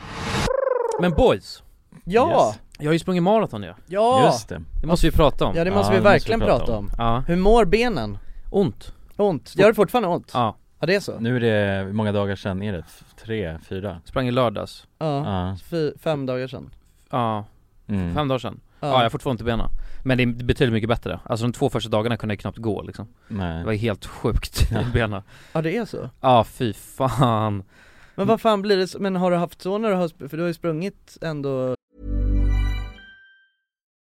Men boys! Ja! Yes. Jag har ju sprungit maraton ju, Ja! Just det det måste vi prata om Ja det måste Ja, vi det måste vi verkligen prata prata om. om. Ja, Hur mår benen? ont Ont? Gör det fortfarande ont? Ja, Ja, det är så? Nu är det, hur många dagar sedan är det? F- Tre, fyra? sprang i lördags Ja, Ja, Fy, fem dagar sedan Ja, mm. fem dagar sedan Ja, jag har fortfarande ont i benen Men det är betydligt mycket bättre, alltså de två första dagarna kunde jag knappt gå liksom Det Nej var helt sjukt i benen ja det är så? Ja fy fan Men vad fan blir det, så- men har du haft så när du har, sp- för du har ju sprungit ändå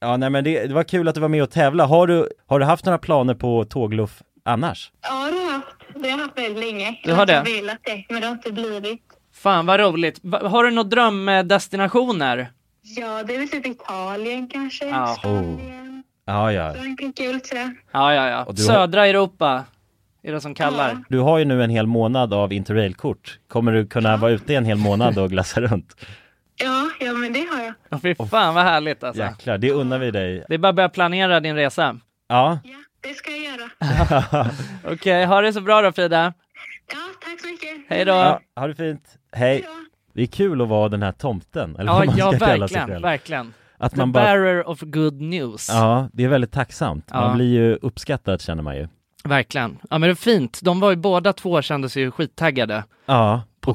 Ja, nej men det, det var kul att du var med och tävla. Har du, har du haft några planer på tågluff annars? Ja, det har jag haft. Det har jag haft väldigt länge. Du har Jag det? inte velat det, men det har inte blivit. Fan vad roligt. Va- Har du några drömdestinationer? Ja, det är väl typ Italien kanske. Ja. Spanien. Ja, ja. Frankrike, kul tror jag. Ja, ja, ja. du har- Södra Europa är det som kallar. Du har ju nu en hel månad av interrailkort. Kommer du kunna vara ute i en hel månad och glassa runt? Ja, ja, men det har jag. Ja. Fy fan vad härligt alltså. Jäklar, det unnar vi dig. Det är bara att börja planera din resa. Ja, Ja, det ska jag göra. Okej, ha det så bra då Frida. Ja, tack så mycket. Hej då. ja Ja, ha det fint. Hej. Det är kul att vara den här tomten, eller ja, vad man ska kalla sig verkligen, själv. verkligen. Att The man bara... bearer of good news. Ja, det är väldigt tacksamt. Man Ja. blir ju uppskattad känner man ju. Verkligen. Ja men det är fint. De var ju båda två kändes ju skittaggade Ja, på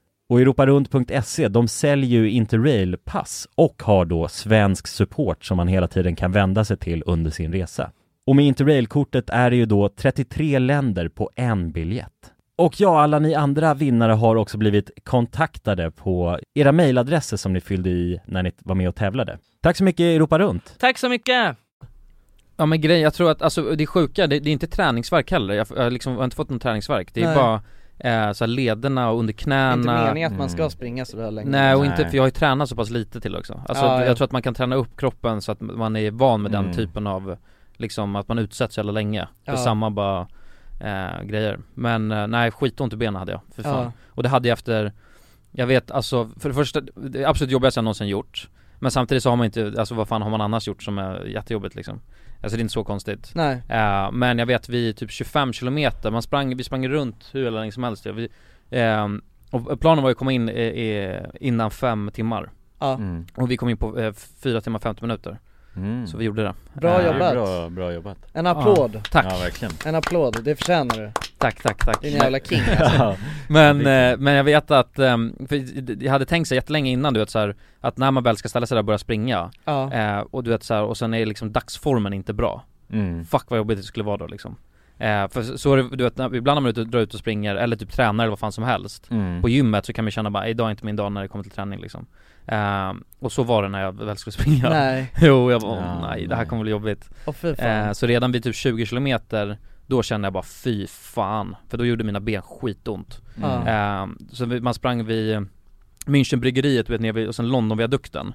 Och europarunt.se, E, de säljer ju Interrail-pass och har då svensk support som man hela tiden kan vända sig till under sin resa. Och med Interrail-kortet är det ju då 33 länder på en biljett. Och ja, alla ni andra vinnare har också blivit kontaktade på era mejladresser som ni fyllde i när ni var med och tävlade. Tack så mycket Europa Runt! Tack så mycket! Ja men grejen, jag tror att alltså det är sjuka, det, det är inte träningsverk heller, jag, jag liksom har inte fått någon träningsverk Det är Nej. bara eh, så här lederna och under knäna Inte meningen att man ska springa sådär länge eh, mm. Nej och inte, Nej. för jag har ju tränat så pass lite till också Alltså Ja, jag ja. tror att man kan träna upp kroppen så att man är van med Mm. den typen av Liksom att man utsätts så jävla länge för Ja. samma bara eh, grejer Men eh, nej, skitont i benen hade jag, för fan Ja. Och det hade jag efter Jag vet alltså, för det första, det absolut jobbigaste jag någonsin gjort Men samtidigt så har man inte, alltså vad fan har man annars gjort som är jättejobbigt liksom Alltså det är inte så konstigt Nej. Eh, men jag vet vi typ 25 kilometer, man sprang, vi sprang runt hur länge som helst. Vi, ehm, och planen var ju att komma in eh, eh, innan fem timmar. Ja. Mm. Och vi kom in på eh, 4 timmar 50 minuter. Mm. Så vi gjorde det. Bra Eh, jobbat! bra- bra jobbat. En applåd! Ja, tack. En applåd, det förtjänar du! Tack, tack, tack! Din jävla king alltså. Men, eh, men jag vet att, ehm, för jag hade tänkt så jättelänge innan du vet så här, att när man väl ska ställa sig där och börja springa Ja. eh, och du vet så här, och sen är liksom dagsformen inte bra Mm. Fuck vad jobbigt det skulle vara då liksom eh, För så- så är det, du vet, när, ibland när man är ute och drar ut och springer eller typ tränar eller vad fan som helst Mm. På gymmet så kan man känna bara, idag är inte min dag när det kommer till träning liksom eh, Och så var det när jag väl skulle springa Nej. Jo, jag bara, åh, Ja, nej det här nej. kommer bli jobbigt Åh, fy fan. så redan vid typ 20 kilometer då kände jag bara fy fan, för då gjorde mina ben skitont. Mm. Eh, så vi, man sprang vid Münchenbryggeriet, du vet, ner vid, och sen Londonviadukten.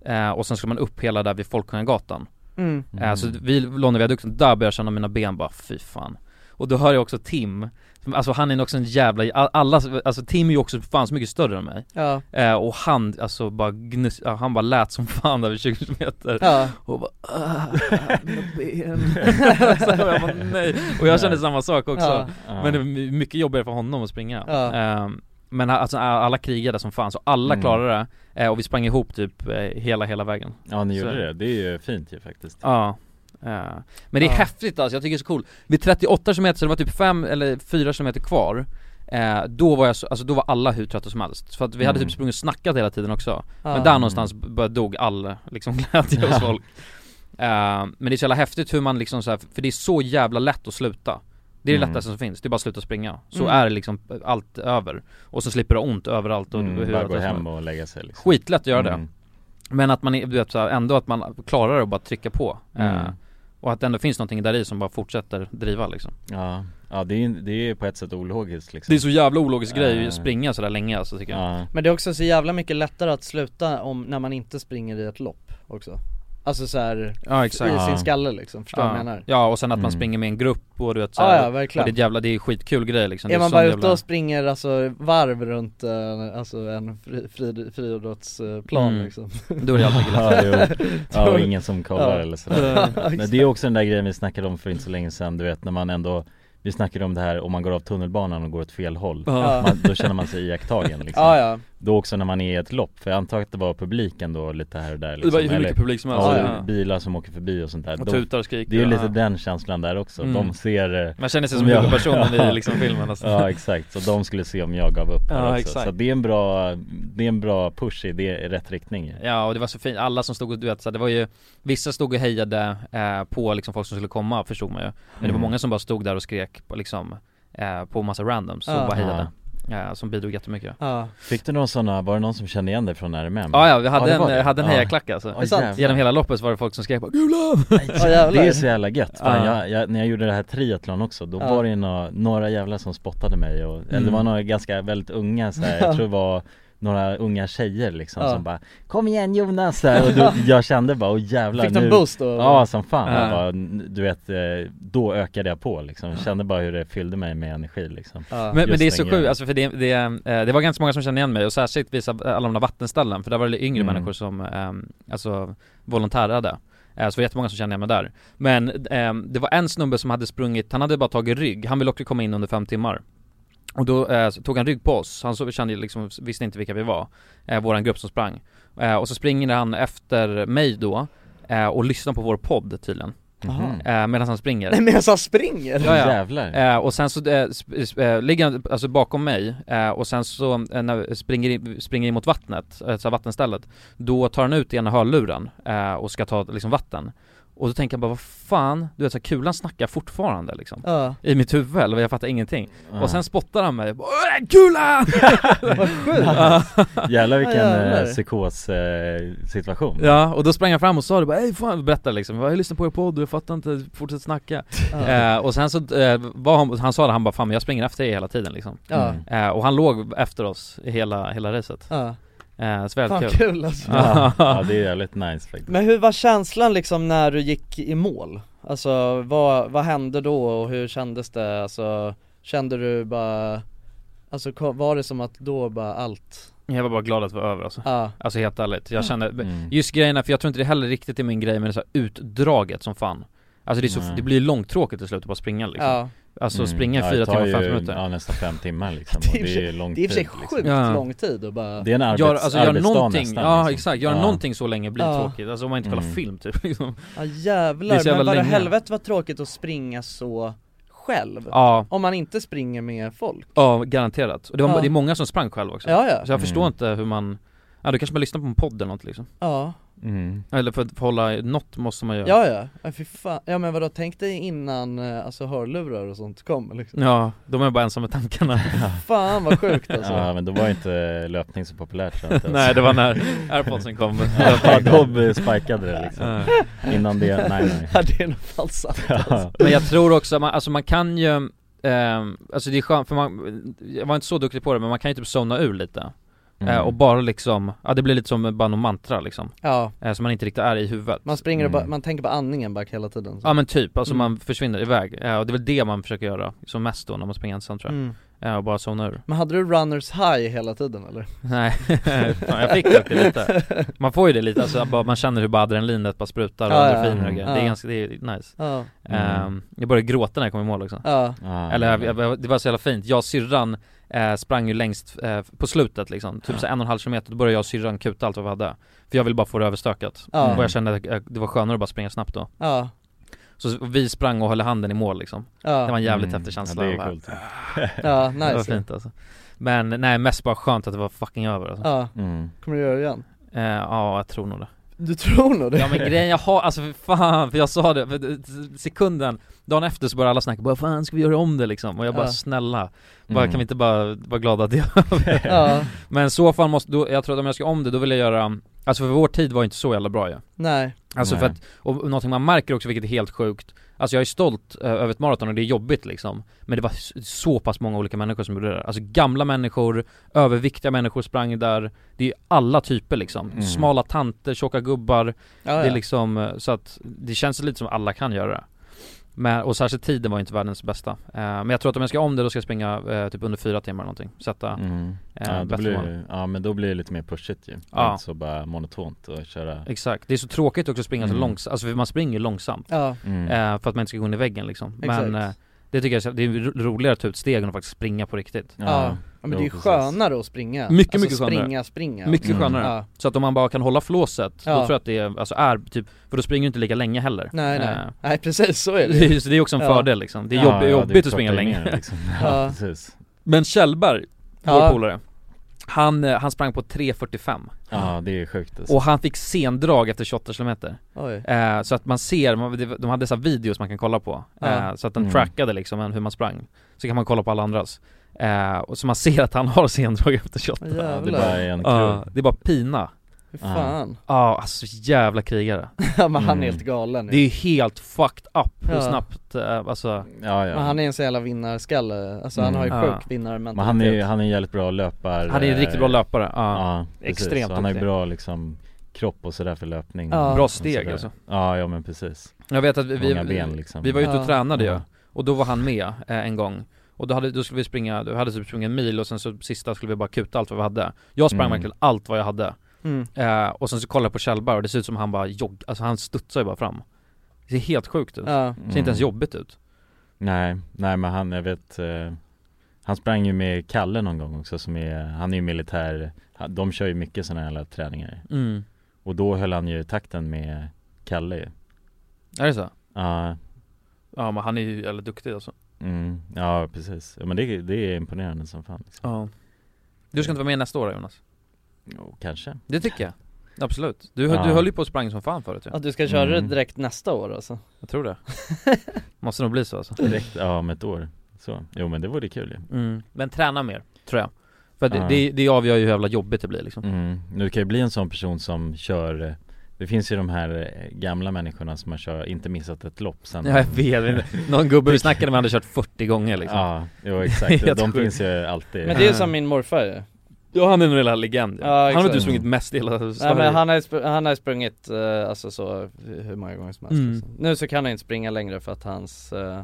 Eh, och sen skulle man upp hela där vid Folkungagatan. Mm. Eh, så vid Londonviadukten, där började jag känna mina ben bara fy fan. Och då hör jag också Tim, som- alltså han är också en jävla, alla, alltså Tim är ju också fan så mycket större än mig. Ja. Eh, och han, alltså bara gnus, ja, han bara lät som fan där vid 20 kilometer. Ja. Och bara, Ah, mina ben. så jag bara, nej. Och jag kände samma sak också. Ja. Men det var my- mycket jobbigare för honom att springa. Ja. Ehm, men ha- alltså, alla krigade som fan, så alla Mm. klarade det. Eh, Och vi sprang ihop typ eh, hela, hela vägen. Ja ni gjorde så. det, det är ju fint ju faktiskt Ja Ja. Men det är Ja. häftigt alltså, jag tycker det är så coolt. Vid 38 km, så det var typ 5 eller 4 km kvar eh, Då var jag så, alltså då var alla hur trötta som helst. För att vi hade Mm. typ sprungit och snackat hela tiden också Ja. Men där någonstans bara dog all liksom glädje hos Ja. folk Eh, Men det är så jävla häftigt hur man liksom så här, för det är så jävla lätt att sluta Det är det Mm. lättaste som finns, det är bara att sluta springa. Så Mm. är det liksom allt över. Och så slipper du ha ont överallt och Mm, hur bara trött gå som hem helst. och lägga sig, liksom. Skitlätt att göra Mm. det men att man, är- du vet så här, ändå att man klarar att bara trycka på Mm. eh, Och att det ändå finns någonting där i som bara fortsätter driva liksom Ja, ja det är ju det är på ett sätt ologiskt liksom Det är så jävla ologisk grej Eh, att springa sådär länge alltså tycker jag ja. Men det är också så jävla mycket lättare att sluta om, när man inte springer i ett lopp också Alltså så här, Ja, i exakt. sin Ja. skalle liksom, förstår du vad Ja. jag menar? Ja och sen att man Mm. springer med en grupp och du vet Ja, såhär ja, verkligen. och det är jävla, det är skitkul grej liksom Är det man sån bara jävla... ute och springer alltså varv runt eh, alltså en fri- fri- friidrottsplan Mm. liksom Då är det alltid ja, jo. ja, och Då- ingen som kollar Ja. eller Ja, sådär Men exakt. det är också den där grejen vi snackade om för inte så länge sedan Du vet när man ändå Vi snackade om det här om man går av tunnelbanan och går åt fel håll Ja. man, Då känner man sig iakttagen liksom Ja, ja. Då också när man är i ett lopp, för jag antar att det var publiken då lite här och där Det var ju hur mycket publik som helst. liksom ja, Ja. bilar som åker förbi och sånt där Och De- tutar och skriker. Det är ju Ja. lite den känslan där också, Mm. de ser eh, Man känner sig om som jag- huvudpersonen i liksom filmen nästan. Ja exakt, så de skulle se om jag gav upp här Ja, också. exakt. Så det är en bra, det är en bra push i, det, i rätt riktning ju. Ja och det var så fint, alla som stod och du vet, så här, det var ju Vissa stod och hejade eh, på liksom folk som skulle komma förstod man ju Men det var Mm. många som bara stod där och skrek på, liksom eh, På massa randoms som Ja. bara hejade eh, Som bidrog jättemycket Ja. Fick du några sådana, var det någon som kände igen dig från RMM? Ja ja, vi hade det var en, det. hade en Ja. hejaklack alltså Oj, jävlar. Genom hela loppet så var det folk som skrek bara 'Gula!' det är så jävla gött, Fan, Ja. jag, jag, när jag gjorde det här triathlon också, då Ja. var det ju några, några jävlar som spottade mig och, eller det Mm. var några ganska väldigt unga så här, Ja. jag tror det var några unga tjejer liksom Ja. som bara Kom igen Jonas! Så här, och då, jag kände bara, åh jävlar Fick de nu boost då? Ja som fan, Ja. jag bara, n- du vet, eh, då ökade jag på liksom, jag kände bara hur det fyllde mig med energi liksom Men, men Just det är så den grejen. sjukt, alltså för det, det, eh, det var ganska många som kände igen mig och särskilt vid alla de där vattenställen för där var det yngre Mm. människor som eh, alltså volontärade Eh, Så det var jättemånga som kände igen mig där Men eh, det var en snubbe som hade sprungit, han hade bara tagit rygg, han ville också komma in under fem timmar Och då eh, så tog han rygg på oss, han så, kände ju liksom, visste inte vilka vi var eh, Våran grupp som sprang eh, Och så springer han efter mig då eh, och lyssnar på vår podd tydligen Mhm. Aha. eh, Medan han springer Nej men jag sa springer! Ja, ja. Eh, och sen så eh, sp- sp- eh, ligger han alltså, bakom mig eh, och sen så eh, när springer, in, springer in mot vattnet, eh, så här vattenstället Då tar han ut ena hörluren eh, och ska ta liksom vatten Och då tänker jag bara vad fan, du vet så här, kulan snackar fortfarande liksom Ja. I mitt huvud, eller jag fattar ingenting Ja. Och sen spottar han mig, Jag bara, "Åh, kulan! Vad sjukt! Ja. Jävlar vilken Ja, ja, jävlar. psykos eh, situation Ja, och då sprang jag fram och sa det bara Ey fan, berätta liksom, jag lyssnar på er podd, jag fattar inte, fortsätt snacka Ja. eh, Och sen så eh, var han, han sa det, han bara fan men jag springer efter er hela tiden liksom Ja. eh, Och han låg efter oss i hela, hela racet Ja. eh, Så Fan, väldigt kul kul, alltså. Ja, ja, det är jävligt nice faktiskt Men hur var känslan liksom när du gick i mål? Alltså vad, vad hände då och hur kändes det? Alltså kände du bara, alltså ko- var det som att då bara allt? Jag var bara glad att det var över alltså. Ja. Alltså helt ärligt, jag kände, Mm. just grejerna, för jag tror inte det heller riktigt är min grej men det är så här utdraget som fan Alltså det, är så, Nej. det blir långtråkigt till slut att bara springa liksom Ja. Alltså Mm. springa Ja, i det fyra tar timmar och ju, fem minuter Ja nästan fem timmar liksom Det är i och och för det är sig- lång det är i och för sig tid, sjukt liksom. lång tid och bara Det är en arbets, Gör, alltså gör arbetsdag någonting, nästan, ja liksom. exakt, gör Ja. någonting så länge blir Ja. tråkigt Alltså om man inte kollar Mm. film typ liksom. Ja Det är jävlar, så jävla men vadå länge. helvete vad tråkigt att springa så själv? Ja. Om man inte springer med folk Ja, garanterat. Och det, var, Ja. det är många som sprang själv också Ja, ja. Så jag förstår Mm. inte hur man, ja då kanske man lyssnar på en podd eller något liksom Ja. Mm. Eller för att hålla, något måste man göra Ja ja, ja fy fan. ja men vadå tänk dig innan eh, alltså hörlurar och sånt kom liksom Ja, de är bara ensamma med tankarna Fan vad sjukt alltså Ja men då var ju inte löpning så populärt så att- Nej, det var när airpodsen kom. Ja Dobb spikade det liksom Ja. Innan det, nej nej Ja det är nog fan sant alltså. Men jag tror också, man, alltså man kan ju, ehm, alltså det är skönt för man, jag var inte så duktig på det men man kan ju typ somna ur lite Mm. eh, Och bara liksom, ja det blir lite som bara någon mantra liksom Ja. eh, Som man inte riktigt är i huvudet Man springer och Mm. bara, man tänker på andningen bara hela tiden så. Ja men typ, alltså Mm. man försvinner iväg, eh, och det är väl det man försöker göra som mest då när man springer ensam tror jag Mm. eh, Och bara somna ur Men hade du runners high hela tiden eller? Nej, fan, jag fick dock det lite Man får ju det lite, alltså, bara, man känner hur bara adrenalinet bara sprutar och Ja, ja, endorfiner ja. och grejer, det är Ja. Mm. ganska, det är nice Ja. Ehm, Jag började gråta när jag kom i mål också Ja. Ja, Eller jag, ja, jag, jag- det var så jävla fint, jag och syrran eh, sprang ju längst eh, på slutet liksom, typ så här en och en halv kilometer, då började jag och syrran kuta allt vad vi hade För jag ville bara få det överstökat, Ja. och Mm. jag kände att eh, det var skönare att bara springa snabbt då Ja. Så vi sprang och höll handen i mål liksom Ja. Det var en jävligt Mm. häftig Ja, känsla det är bara, coolt. Ja, Det var nice. fint alltså Men nej, mest bara skönt att det var fucking över alltså. Ja. Mm. Kommer du göra det igen? Eh, ja, jag tror nog det Du tror nog det? Ja men grejen jag har, alltså för fan, för jag sa det, för det- sekunden, dagen efter så började alla snacka bara 'Fan ska vi göra om det?' liksom och jag bara Ja. 'Snälla, bara, Mm. kan vi inte bara vara glada att det är över?" Ja. Men i så fall måste, då, jag tror att om jag ska om det då vill jag göra, alltså för vår tid var ju inte så jävla bra ju Nej. Alltså för Nej. att, och någonting man märker också vilket är helt sjukt Alltså jag är stolt eh, över ett maraton och det är jobbigt liksom Men det var s- så pass många olika människor som gjorde det där. Alltså gamla människor, överviktiga människor sprang där Det är alla typer liksom, Mm. smala tanter, tjocka gubbar Ja, Det är ja. liksom, eh, så att det känns lite som alla kan göra det men, och särskilt tiden var ju inte världens bästa eh, Men jag tror att om jag ska om det då ska jag springa eh, typ under fyra timmar eller någonting Sätta Mm. eh, ja, då bättre mål blir, ja men då blir det lite mer pushigt ju, Ja. inte så bara monotont och köra Exakt, det är så tråkigt också att springa Mm. så långsamt, alltså för man springer långsamt Ja. Mm. eh, För att man inte ska gå in i väggen liksom Men Exakt. eh, det tycker jag, så- det är ro- roligare att ta ut stegen och faktiskt springa på riktigt Ja. Ja, men det är ju skönare att springa. Mycket, Alltså mycket skönare springa, springa. Mycket Mm. skönare Ja. Så att om man bara kan hålla flåset, Ja. då tror jag att det är, alltså är typ, för då springer du inte lika länge heller Nej nej, Eh, nej precis så är det ju. det. så det är också en Ja. fördel liksom, det är Ja, jobb, ja, det är jobbigt klart att springa det är länge mer, liksom. Ja, Ja. precis. Men Kjellberg, vår Ja. polare han, eh, han sprang på 3.45 Ja det är sjukt alltså. Och han fick sendrag efter 28 kilometer Oj. eh, Så att man ser, man, det- de hade så här videos man kan kolla på eh, Ja. Så att den Mm. trackade liksom en- hur man sprang Så kan man kolla på alla andras eh, och så man ser att han har sendrag efter 28 Jävlar. Ja, det bara är en Ja, krog. Det är bara pina Fy fan. Ja, alltså jävla krigare Mm. Ja, men han är helt galen ju. Det är helt fucked up hur Ja. snabbt, eh, alltså Men han är en sån jävla vinnarskalle, alltså han har ju Mm. sjuk Ja. vinnarmentalitet Men han är, han är en jävligt bra löpare Han är en riktigt bra löpare, ja. precis. Extremt Och Han har ju duktig. bra liksom kropp och sådär för löpning Ja. och Bra sådär. steg, alltså. Ja, ja men precis Jag vet att vi, vi, Många ben liksom vi var ute och Ja. tränade ju Ja. Och då var han med eh, en gång Och då, hade, då skulle vi springa, då hade vi typ sprungit en mil och sen så sista skulle vi bara kuta allt vad vi hade Jag sprang Mm. verkligen allt vad jag hade Mm. eh, Och sen så kollade jag på Kjellberg och det ser ut som han bara jogg, alltså han studsar ju bara fram Det ser helt sjukt ut, Ja. det ser inte ens Mm. jobbigt ut Nej, nej men han, jag vet eh, Han sprang ju med Kalle någon gång också som är, han är ju militär han- De kör ju mycket sådana här träningar Mm. Och då höll han ju takten med Kalle ju Är det så? Ja, Ja men han är ju jävligt duktig alltså mm, ja precis, ja, men det, det är imponerande som fan liksom. Ja Du ska inte vara med nästa år Jonas? Jo, kanske Det tycker jag Absolut. Du, Ja. du höll ju på och sprang som fan förut ju. Ja, du ska köra det direkt nästa år alltså? Jag tror det. Måste nog bli så alltså. Direkt, ja om ett år Så, jo men det vore kul ju Mm. Men träna mer, tror jag. För det, Ja. det, det avgör ju hur jävla jobbigt det blir liksom. Mm. Nu kan ju bli en sån person som kör eh, Det finns ju de här eh, gamla människorna som har kört, inte missat ett lopp sen liksom. Ja, jag vet. Någon gubbe vi snackade med hade kört 40 gånger liksom. Mm. Typ. Ja, jo Det är exakt, helt de sjukt. finns ju alltid Men det är ju som min morfar ju Ja han är en hela legend ja. Ja, Han har exakt. du sprungit mest i hela Nej Sverige. men han har, ju spr- han har ju sprungit eh, alltså så hur många gånger som helst Mm. liksom. Nu så kan han inte springa längre för att hans eh,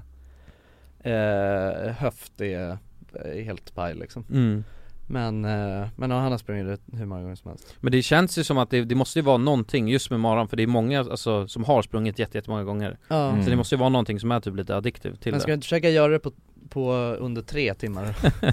eh, höft är, är helt paj liksom Mm. Men, eh, men ja, han har sprungit hur många gånger som helst Men det känns ju som att det, det måste ju vara någonting just med maran för det är många alltså, som har sprungit jätte, jättemånga gånger Ja. Mm. Så det måste ju vara någonting som är typ lite addiktivt till Men ska du det inte försöka göra det på, på under tre timmar?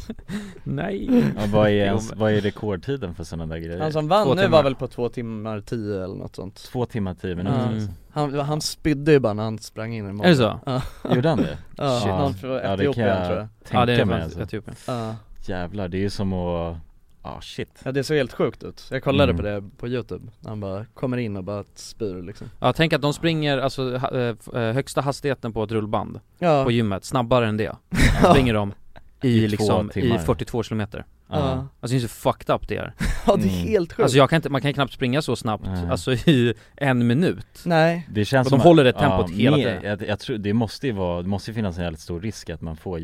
Nej Ja, vad, är ens, vad är rekordtiden för sådana där grejer? Han Alltså- som vann Två nu timmar. var väl på två timmar tio eller något sånt Två timmar tio minuter Mm. Ja. alltså. han, han spydde ju bara när han sprang in i målet Är det så? Ja. Gjorde han det? Ja, Shit. någon från Ja, det kan Etiopien tror jag tänka Ja, det är mig från alltså. Etiopien. Ja. Jävlar, det är ju som att, ja shit Ja det såg helt sjukt ut, jag kollade Mm. på det på youtube, han bara kommer in och bara spyr liksom Ja tänk att de springer alltså ha, eh, f- eh, högsta hastigheten på ett rullband Ja. På gymmet, snabbare än det Springer de i, två liksom, i timmar. 42 kilometer Ja. Ja. Alltså det är så fucked up det är Ja det är Mm. helt sjukt Alltså jag kan inte, man kan knappt springa så snabbt, alltså i en minut Nej Det känns Och som de att- håller det tempot ja, hela mer- tiden Jag, jag tror, det måste ju vara, det måste ju finnas en jävligt stor risk att man får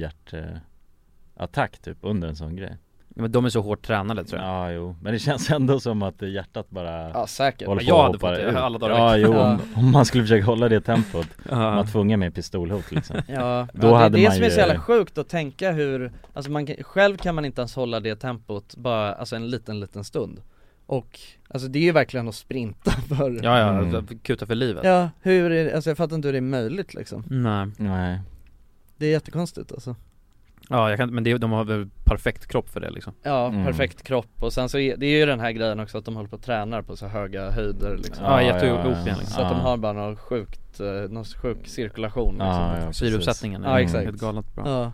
hjärtattack typ under en sån grej Ja, Men de är så hårt tränade tror jag Ja jo, men det känns ändå som att hjärtat bara Ja, säkert. håller på Jag och hade hoppar fått det ut. alla dagar i Ja veckan. jo, om, Ja. om man skulle försöka hålla det tempot Ja. Man tvungen med pistolhot liksom Ja, Då ja, hade det är det man som är ju- så jävla sjukt att tänka hur, alltså man kan, själv kan man inte ens hålla det tempot bara, alltså en liten liten stund Och, alltså det är ju verkligen att sprinta för Ja ja, Mm. alltså, kuta för livet Ja, hur är det, alltså jag fattar inte hur det är möjligt liksom Nej Nej Det är jättekonstigt alltså Ja jag kan, men det, de har väl perfekt kropp för det liksom Ja, Mm. perfekt kropp och sen så är, det är ju den här grejen också att de håller på och tränar på så höga höjder liksom Ja, jätteopium, liksom. Så att de Ja. har bara någon sjukt, eh, någon sjuk cirkulation liksom. Ja, ja, precis. Syreuppsättningen är Ja exakt helt galet bra. Ja,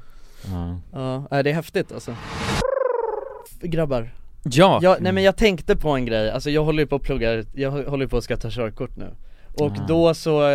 Ja. ja, nej, det är häftigt alltså F- Grabbar Ja! jag, Nej men jag tänkte på en grej, alltså jag håller ju på och pluggar, jag hå- håller ju på att ska ta körkort nu och Ah. då så, eh,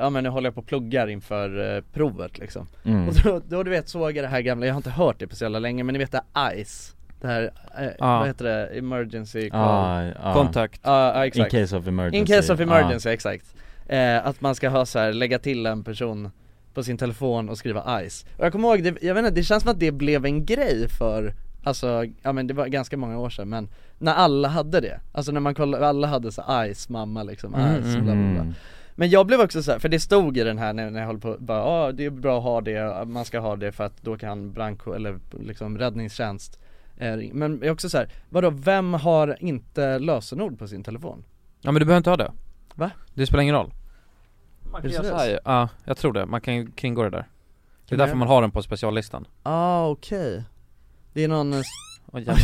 ja men nu håller jag på och pluggar inför eh, provet liksom Mm. Och då, då du vet såg jag det här gamla, jag har inte hört det på så jävla länge men ni vet det här ICE Det här, eh, Ah. vad heter det, emergency call Ah, ah. Contact. Ja ja, exakt In case of emergency. In case of Ah. emergency, exakt eh, Att man ska ha så här, lägga till en person på sin telefon och skriva ICE Och jag kommer ihåg, det, jag vet inte, det känns som att det blev en grej för Alltså, ja men det var ganska många år sedan men När alla hade det, alltså när man kollade, alla hade så här, ICE mamma liksom, Mm, ICE mm, bla bla bla mm. men jag blev också så här, för det stod i den här när när jag höll på, bara ah, det är bra att ha det, man ska ha det för att då kan brandkår, eller liksom räddningstjänst eh, ring- Men jag är också så här, vadå vem har inte lösenord på sin telefon? Ja men du behöver inte ha det Va? Det spelar ingen roll Man kan göra så här ju. Ja, jag tror det, man kan ju kringgå det där Det Kan man är därför göra? man har den på speciallistan Ah okej Det är någon eh, s- Åh, jävlar.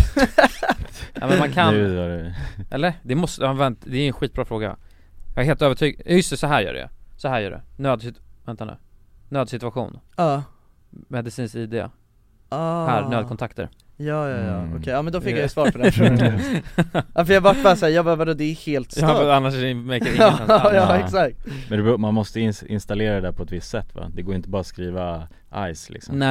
Ja men man kan Nu var det- Eller? Det måste, ja, vänta, det är en skitbra fråga Jag är helt övertygad, just det, så här gör det Så här gör det, nödsituation, vänta nu Nödsituation Ja. Medicinskt ID Ah. Här, nödkontakter Ja ja ja, okej, ja men då fick jag ju svar på den frågan Ja för jag vart bara såhär, jag bara vadå det är helt stört Ja, men annars är det- make it ingen ja, sens. ja, Ja. exakt Men det beror, man måste ins- installera det där på ett visst sätt va? Det går inte bara att skriva ICE liksom Nej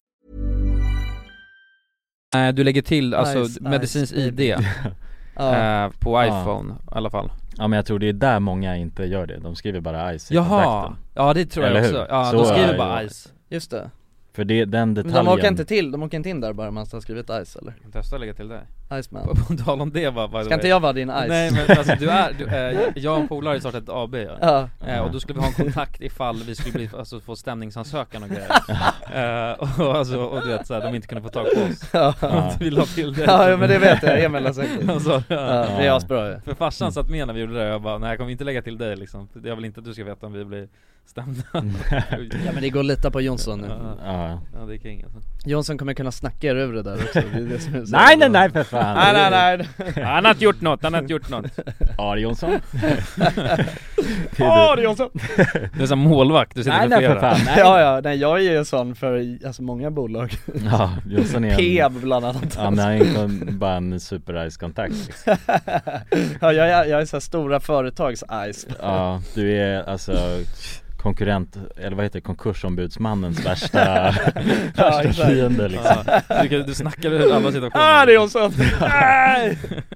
Nej, du lägger till alltså Nice, medicinskt nice. ID Ja. eh, På Ja. iPhone i alla fall Typ Ja men jag tror det är där många inte gör det, de skriver bara ICE i Jaha! kontakten. Ja det tror jag Eller också, hur? ja Så de är skriver det. bara ICE Just det För det, den Men detaljen de åker inte till, de åker inte in där bara man har skrivit Ice eller? Testa lägga till det Iceman På, på tal om det va, by Oh, the Ska way. inte jag vara din Ice? Nej men alltså du är, du, eh, jag och en polare har startat ett AB ja. Ja. Eh, Och då skulle vi ha en kontakt ifall vi skulle bli, alltså, få stämningsansökan och grejer eh, och, alltså, och du vet såhär, de inte kunde få tag på oss Ja. Om Vi la till det Ja, men det vet jag, Emil har sagt det. alltså, Ja, det är asbra ju. För farsan satt med när vi gjorde det jag bara, nej jag kommer inte lägga till dig liksom Jag vill inte att du ska veta om vi blir stämda Ja men det går att lita på Jonsson nu Ja, ja det är king alltså. Jonsson kommer kunna snacka er ur det där också, det är det som är så Nej, bra. nej, nej, för fan. Nej nej nej Han har inte gjort något, han har inte gjort något Are Jonsson? Ja det är Jonsson! Du är som målvakt, du sitter Nej, med nej, flera för fan, nej. Ja ja, nej jag är ju sån för alltså, många bolag Ja, Jonsson är en- Peab bland annat Ja men han är inte en- bara en super ice kontakt liksom. ja, jag, är- jag är så här stora företags Ice Ja, du är alltså konkurrent, eller vad heter det, konkursombudsmannens värsta, Ja, värsta exakt. fiende liksom Ja, du kan- du snackar ur alla situationer. Ah det är Jonsson! Ja.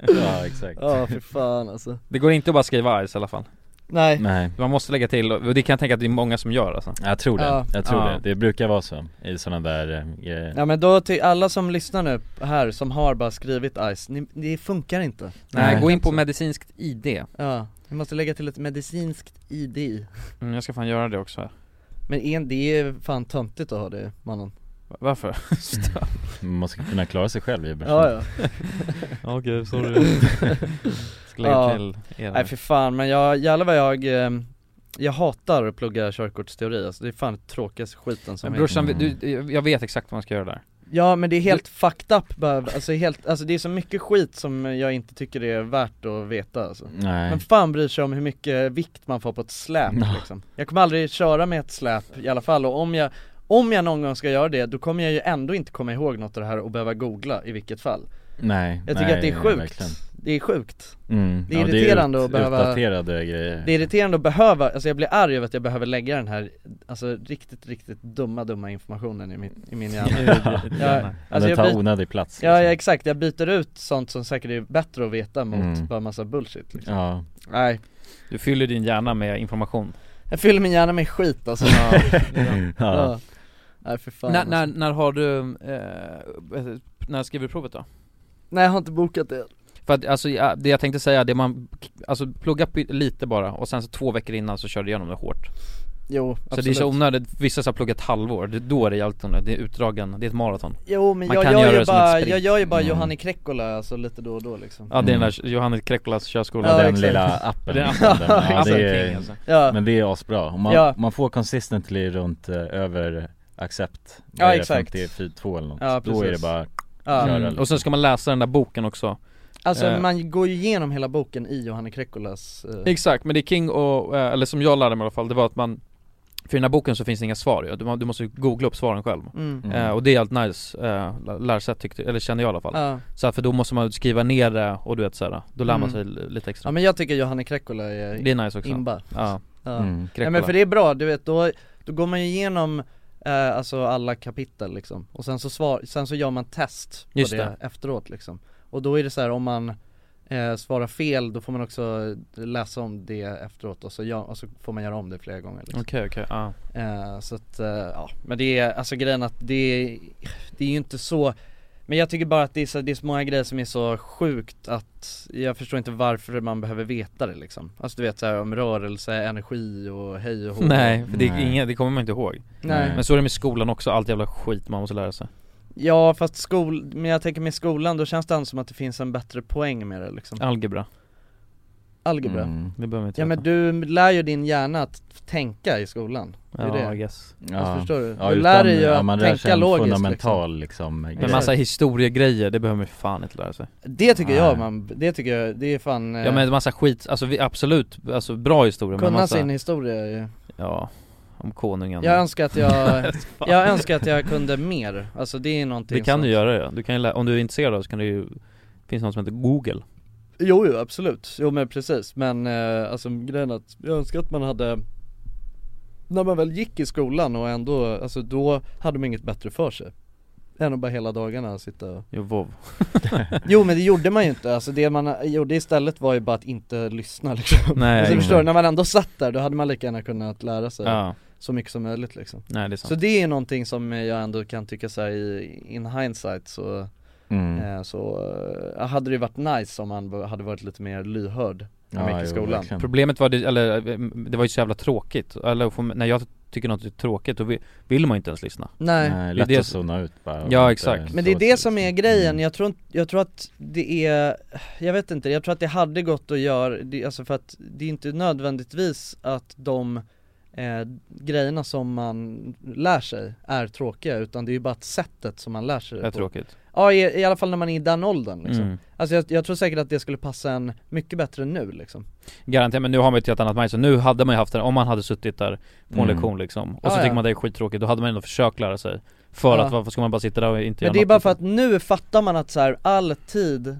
Ja, exakt. Ja för fan alltså Det går inte att bara skriva ice i alla fall Nej. Nej. Man måste lägga till, och det kan jag tänka att det är många som gör alltså Jag tror det, Ja. jag tror Ja. det. Det brukar vara så i sådana där eh, grejer Ja men då till alla som lyssnar nu här som har bara skrivit Ice, ni, det funkar inte Nej, gå in på medicinskt ID Ja, vi måste lägga till ett medicinskt ID mm, Jag ska fan göra det också Men en, det är fan töntigt att ha det mannen Varför? Man ska kunna klara sig själv i Ja ja Okej, sorry Ska lägga till er Nej för fan men jag, jävlar vad jag eh, jag hatar att plugga körkortsteori, alltså det är fan det tråkigaste skiten som Men brorsan, vi- finns. du, jag vet exakt vad man ska göra där Ja men det är helt fucked up bara, alltså, helt, alltså det är så mycket skit som jag inte tycker det är värt att veta alltså. Nej. Men fan bryr sig om hur mycket vikt man får på ett släp Ja. liksom. Jag kommer aldrig köra med ett släp i alla fall och om jag, om jag någon gång ska göra det då kommer jag ju ändå inte komma ihåg något av det här och behöva googla i vilket fall Nej, Jag tycker nej, att det är nej, sjukt, verkligen. det är sjukt Mm. Det är Ja, det är irriterande ut- att behöva utdaterade grejer. Det är irriterande att behöva, alltså jag blir arg över att jag behöver lägga den här, alltså riktigt, riktigt dumma, dumma informationen i min, i min hjärna Ja, det är det. Den tar byt- onödig plats, alltså, Ja, liksom. ja exakt, jag byter ut sånt som säkert är bättre att veta mot Mm. bara massa bullshit liksom. Ja. Nej Du fyller din hjärna med information Jag fyller min hjärna med skit alltså Ja. Ja. Nej för fan när, alltså. när, när har du, eh, när skriver du provet då? Nej jag har inte bokat det För att, alltså, ja, det jag tänkte säga, det man, alltså plugga py- lite bara och sen så två veckor innan så kör du igenom det hårt Jo, Så det är absolut. så onödigt, vissa som har pluggat halvår, det, då är det jävligt onödigt, det är utdragen, det är ett maraton Jo men Man jag kan gör, göra ju det som bara, ett sprint. jag gör ju bara Mm. Johanni Krekkola alltså lite då och då liksom Ja det är den där Johannes Krekkolas körskola Ja, den lilla appen Den- liksom, den, ja, Appen det King, är, alltså. Ja. Men det är asbra, Om man, Ja. man får consistently runt eh, över accept Ja, exakt. 52 eller något, Ja, då är det precis. bara Ja. köra Mm. liksom. Och sen ska man läsa den där boken också Alltså Eh, man går ju igenom hela boken i Johanni Krekkolas eh, Exakt, men det är King och, eh, eller som jag lärde mig i alla fall, det var att man För i den här boken så finns det inga svar ju, du, må- du måste ju googla upp svaren själv Mm. Mm. eh, Och det är allt nice eh, lä- lärosätt tyckte, eller känner jag i alla fall Ja. Så att för då måste man skriva ner det och du vet såhär, då lär man sig Mm. li- lite extra Ja men jag tycker Johanni Krekkola är, Det är nice också. imba Ja. ja. Mm. Nej, men för det är bra, du vet då, då går man ju igenom eh, alltså alla kapitel liksom och sen så, svar, sen så gör man test på Just det, det. efteråt liksom Och då är det så här om man eh, svarar fel då får man också läsa om det efteråt och så, gör, och så får man göra om det flera gånger liksom. Okej, okej, ja. Eh, så att, eh, ja, men det är, alltså grejen att det är, det är ju inte så Men jag tycker bara att det är så, det är så många grejer som är så sjukt att jag förstår inte varför man behöver veta det liksom Alltså du vet såhär om rörelse, energi och hej och hå Nej, för det, är inga, det kommer man inte ihåg Nej. Men så är det med skolan också, allt jävla skit man måste lära sig Ja fast skol, men jag tänker med skolan då känns det ändå som att det finns en bättre poäng med det liksom Algebra Algebra Mm. Det behöver man inte Ja men du lär ju din hjärna att tänka i skolan, det är Ja, det I guess. alltså, förstår du? Ja, du utan- lär dig ju ja, att man lär sig tänka en logiskt fundamental liksom, Men grej. massa historiegrejer, det behöver man ju fan inte lära sig Det tycker Nej. jag man, det tycker jag, det är fan eh, Ja men massa skit, alltså vi, absolut, alltså bra historia Kunna men massa, sin historia är ju Ja, om konungen Jag önskar att jag, Fan. jag önskar att jag kunde mer, alltså det är någonting Det kan som... du göra ja, du kan ju lä- om du är intresserad av det så kan du ju Finns något som heter google Jo, jo absolut, jo men precis, men eh, alltså grejen är att jag önskar att man hade När man väl gick i skolan och ändå, alltså då hade man inget bättre för sig Än att bara hela dagarna sitta och Jo, vov Jo men det gjorde man ju inte, alltså det man gjorde istället var ju bara att inte lyssna liksom Nej, alltså, exakt. förstår du, när man ändå satt där då hade man lika gärna kunnat lära sig Ja. så mycket som möjligt liksom Nej, det är sant. Så det är någonting som jag ändå kan tycka så här i, in hindsight så, Mm. eh, så eh, hade det ju varit nice om han hade varit lite mer lyhörd när han gick i skolan Problemet var det, eller eh, det var ju så jävla tråkigt, eller för- när jag tycker något är tråkigt då vill- vill man ju inte ens lyssna Nej. Nej, Det är lätt det att som- zona ut bara. Ja Inte- liksom. exakt Men det är det som är grejen, jag tror, inte- jag tror att det är, jag vet inte, jag tror att det hade gått att göra, det, alltså för att det är inte nödvändigtvis att de eh, grejerna som man lär sig är tråkiga utan det är ju bara att sättet som man lär sig Är på. tråkigt. Ja i, i alla fall när man är i den åldern liksom. Mm. Alltså jag, jag tror säkert att det skulle passa en mycket bättre nu liksom Garanterat, men nu har man ju ett helt annat mindset, nu hade man ju haft det, om man hade suttit där på en Mm. lektion liksom Och Ja, så ja. tycker man det är skittråkigt, då hade man ändå försökt lära sig För Ja. att varför ska man bara sitta där och inte Men göra det är något? liksom? bara för att nu fattar man att så här, all tid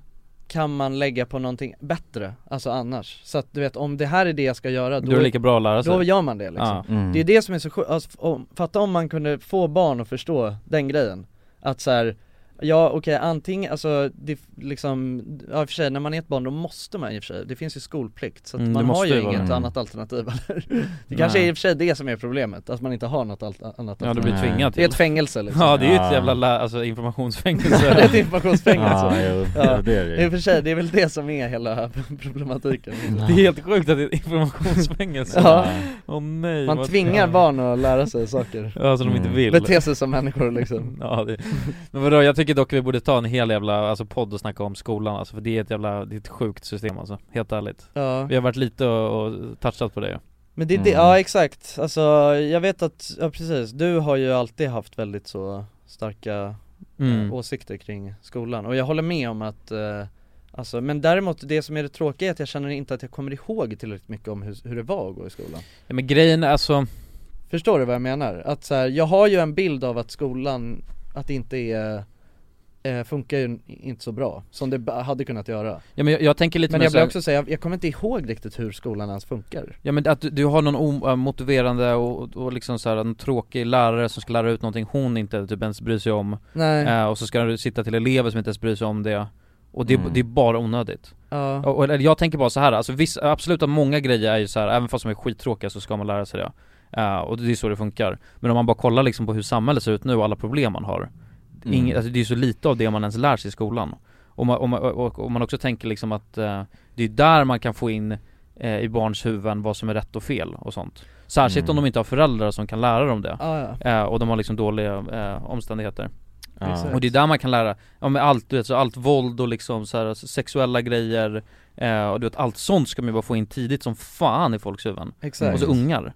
kan man lägga på någonting bättre, alltså annars. Så att du vet, om det här är det jag ska göra Då är det lika bra att lära sig. Då gör man det liksom. Ja. Mm. Det är det som är så sjukt, alltså, om- fatta om man kunde få barn att förstå den grejen. Att så här, ja okej antingen, alltså det f- liksom, ja i och för sig när man är ett barn då måste man i och för sig, det finns ju skolplikt så att Mm, det man har måste ju ju vara inget det. annat alternativ eller? Det kanske Nej. är i och för sig det som är problemet, att man inte har något alt- annat Ja alternativ du blir tvingad Det är ett fängelse liksom Ja det är ju ett Ja. jävla lä- alltså, informationsfängelse Ja, det är ett informationsfängelse. Ja, jo, Ja, det är det ju. I och för sig, det är väl det som är hela problematiken. Det är helt sjukt att det är ett informationsfängelse Ja. Åh nej Man vad- tvingar barn att lära sig saker. Ja, som de inte vill. Bete sig som människor liksom. Mm. Ja det, men vadå, jag tycker dock vi borde ta en hel jävla, alltså podd och snacka om skolan alltså, för det är ett jävla, det är ett sjukt system alltså, helt ärligt Ja. Vi har varit lite och, och touchat på det ju. Men det är det, Mm. ja exakt. Alltså jag vet att, ja precis, du har ju alltid haft väldigt så starka eh, Mm. åsikter kring skolan och jag håller med om att eh, Alltså, men däremot det som är det tråkiga är att jag känner inte att jag kommer ihåg tillräckligt mycket om hur, hur det var att gå i skolan Ja, men grejen är alltså Förstår du vad jag menar? Att så här, jag har ju en bild av att skolan, att det inte är eh, funkar ju inte så bra som det ba- hade kunnat göra Ja, men jag- jag tänker lite Men mer jag så här- vill också säga, jag, jag kommer inte ihåg riktigt hur skolan ens funkar Ja men att du, du har någon omotiverande och, och liksom så här, en tråkig lärare som ska lära ut någonting hon inte typ ens bryr sig om Nej. Eh, Och så ska du sitta till elever som inte ens bryr sig om det Och det, Mm. det är bara onödigt Ja. och, och, eller jag tänker bara så här, alltså viss, absolut att många grejer är ju så här, även fast de är skittråkiga så ska man lära sig det Eh, Och det är så det funkar Men om man bara kollar liksom på hur samhället ser ut nu och alla problem man har Mm. Inget, alltså det är ju så lite av det man ens lär sig i skolan Om man, om man, och, och man också tänker liksom att eh, det är där man kan få in eh, i barns huvuden vad som är rätt och fel och sånt Särskilt om Mm. de inte har föräldrar som kan lära dem det Ja, ja. Eh, och de har liksom dåliga eh, omständigheter Ja. Exakt. Och det är där man kan lära, ja men allt du vet, så allt våld och liksom så här, alltså, sexuella grejer eh, Och du vet allt sånt ska man ju bara få in tidigt som fan i folks huvuden Exakt. Och så ungar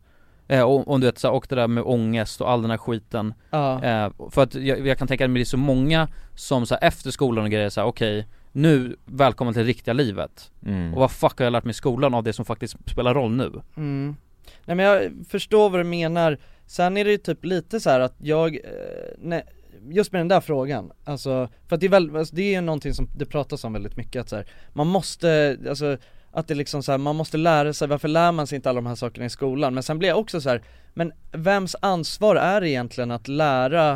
eh, och, och du vet så här, och det där med ångest och all den här skiten Ja. eh, För att jag, jag kan tänka mig det är så många som så här, efter skolan och grejer så här, okej nu, välkommen till riktiga livet Mm. Och vad fuck har jag lärt mig i skolan av det som faktiskt spelar roll nu? Mm. Nej men jag förstår vad du menar, sen är det ju typ lite så här att jag, eh, nej, just med den där frågan, alltså, för att det är väl, alltså, det är ju någonting som det pratas om väldigt mycket att så här, man måste, alltså att det liksom så här, man måste lära sig, varför lär man sig inte alla de här sakerna i skolan? Men sen blir jag också så här, men vems ansvar är det egentligen att lära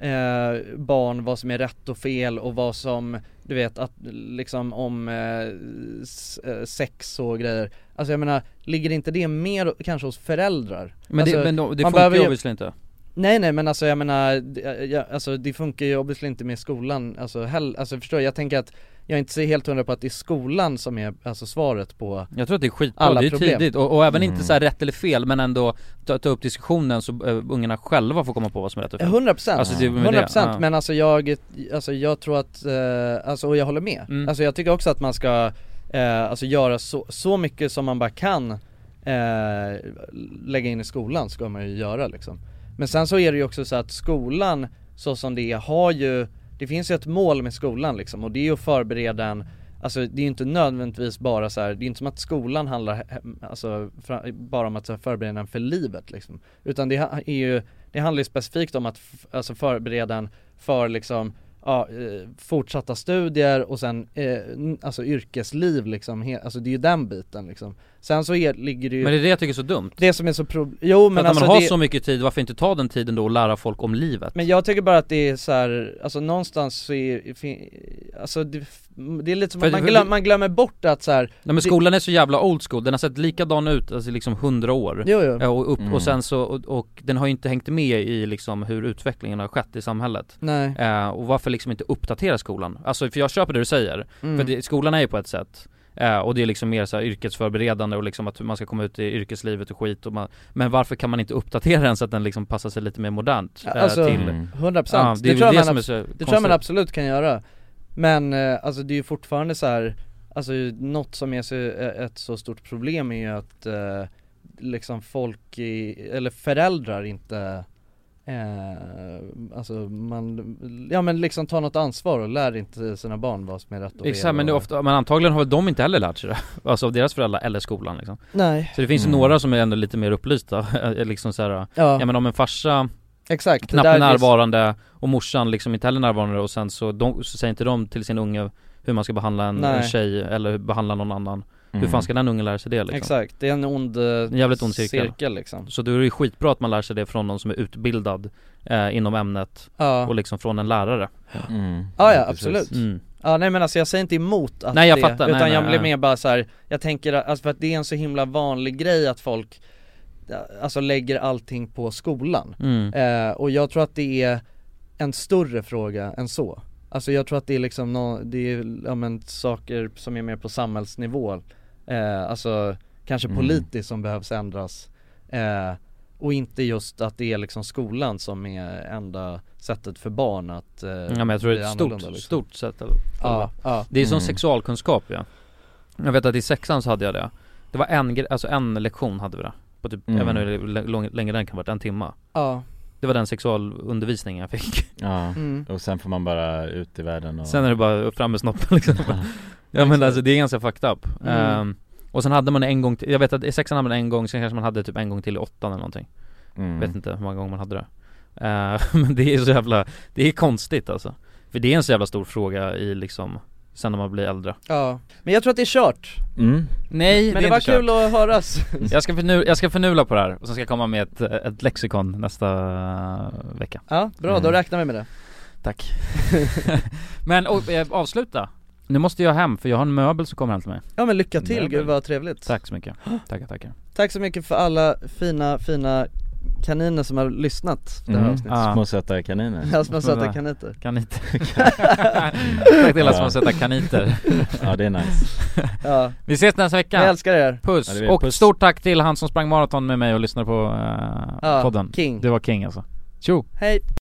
eh, barn vad som är rätt och fel och vad som, du vet att liksom om eh, s- eh, sex och grejer Alltså jag menar, ligger inte det mer kanske hos föräldrar? Men det, alltså, men då, det man funkar behöver ju ju- obviously inte Nej nej men alltså jag menar, det- jag, alltså, det funkar ju obviously inte med skolan, alltså, hell, alltså förstår du? jag tänker att jag är inte så helt hundra på att det är skolan som är alltså svaret på Jag tror att det är skitbra, alla det är ju problem. tidigt och, och även Mm. inte så här rätt eller fel men ändå ta, ta upp diskussionen så uh, ungarna själva får komma på vad som är rätt och fel 100% procent, Alltså, det är med det, 100% ja. men alltså jag, alltså jag tror att, eh, alltså och jag håller med. Mm. Alltså jag tycker också att man ska, eh, alltså göra så, så mycket som man bara kan eh, lägga in i skolan ska man ju göra liksom. Men sen så är det ju också så att skolan, så som det är, har ju, det finns ju ett mål med skolan liksom och det är ju att förbereda en Alltså det är ju inte nödvändigtvis bara så här, det är inte som att skolan handlar he- alltså, fra- bara om att så här, förbereda en för livet liksom. Utan det ha- är ju, det handlar ju specifikt om att f- alltså, förbereda en för liksom Ja, eh, fortsatta studier och sen eh, n- alltså yrkesliv liksom, he- alltså det är ju den biten liksom. Sen så är, ligger det ju Men det är det jag tycker är så dumt det som är så pro- jo För men att Mm. alltså när man har det, så mycket tid, varför inte ta den tiden då och lära folk om livet? men jag tycker bara att det är så här, alltså någonstans så är, fin- alltså det, det är lite som För- att man, för- glöm, man glömmer bort att så här, Nej men det- skolan är så jävla old school, den har sett likadan ut alltså liksom hundra år Jo, jo. Ja, och, upp, Mm. och sen så, och, och den har ju inte hängt med i liksom hur utvecklingen har skett i samhället Nej. eh, Och varför liksom inte uppdatera skolan? Alltså för jag köper det du säger, Mm. för det, skolan är ju på ett sätt eh, och det är liksom mer så här yrkesförberedande och liksom att man ska komma ut i yrkeslivet och skit och man, Men varför kan man inte uppdatera den så att den liksom passar sig lite mer modernt? Ja, eh, Alltså, till- Mm. 100% Ja, det, är ju tror jag man som är abs- så det tror jag man konstigt. absolut kan göra Men eh, alltså det är ju fortfarande så här, alltså något som är så, eh, ett så stort problem är ju att eh, liksom folk, i, eller föräldrar inte eh, alltså man, ja men liksom tar något ansvar och lär inte sina barn vad som är rätt och fel Exakt men, det är och- ofta, men antagligen har väl de inte heller lärt sig det, alltså av deras föräldrar eller skolan liksom Nej. Så det finns ju Mm. några som är ändå lite mer upplysta, liksom så här, Ja. ja. men om en farsa Exakt, det knappt där är- närvarande och morsan liksom inte heller närvarande och sen så, de, så säger inte de till sin unge hur man ska behandla en, Nej. en tjej eller hur- behandla någon annan Hur Mm. fan ska den ungen lära sig det liksom? Exakt, det är en ond, eh, En jävligt ond cirkel, cirkel, liksom. Så då är det ju skitbra att man lär sig det från någon som är utbildad eh, inom ämnet Ja. och liksom från en lärare mm. Ja, ja absolut. Mm. Ja nej men alltså jag säger inte emot att Nej, jag det, fattar. Nej, utan nej, jag blir nej. mer bara så här. jag tänker att, alltså för att det är en så himla vanlig grej att folk ja, Alltså lägger allting på skolan. Mm. Eh, och jag tror att det är en större fråga än så. Alltså jag tror att det är liksom nå, det är, ja, men, saker som är mer på samhällsnivå. Eh, alltså kanske Mm. politiskt som behövs ändras. Eh, och inte just att det är liksom skolan som är enda sättet för barn att eh, Ja men jag tror det är bli ett stort, annorlunda, liksom. stort sätt att Ja, ja. Det är som Mm. sexualkunskap ja Jag vet att i sexan så hade jag det Det var en, gre- alltså en lektion hade vi det På typ, Mm. jag vet inte hur l- lång- länge den kan ha varit, en timma Ja. Det var den sexualundervisningen jag fick Ja, Mm. och sen får man bara ut i världen och... Sen är det bara fram med snoppen liksom Ja men alltså det är ganska fucked up Mm. Ehm, Och sen hade man en gång till, jag vet att i sexan hade man en gång, sen kanske man hade typ en gång till i åttan eller någonting Mm. Vet inte hur många gånger man hade det Ehm, Men det är så jävla, det är konstigt alltså För det är en så jävla stor fråga i liksom, sen när man blir äldre Ja, men jag tror att det är kört Mm. Nej, Men det, var kul att höras jag ska, förnu- jag ska förnula på det här och sen ska jag komma med ett, ett lexikon nästa eh, vecka Ja, bra då räknar vi med det Tack Men och, eh, avsluta Nu måste jag hem för jag har en möbel som kommer hem till mig Ja men lycka till, Möbel. gud vad trevligt Tack så mycket, tackar tackar Tack så mycket för alla fina, fina kaniner som har lyssnat på det här Mm. avsnittet Små söta kaniner Ja, små söta kaniter Kaniter Tack till alla små söta kaniter Ja det är nice Ja. Vi ses nästa vecka Jag älskar er. Puss! Ja, det är vi. och Puss. stort tack till han som sprang maraton med mig och lyssnade på eh, Ja, podden King Det var king alltså Tjo! Hej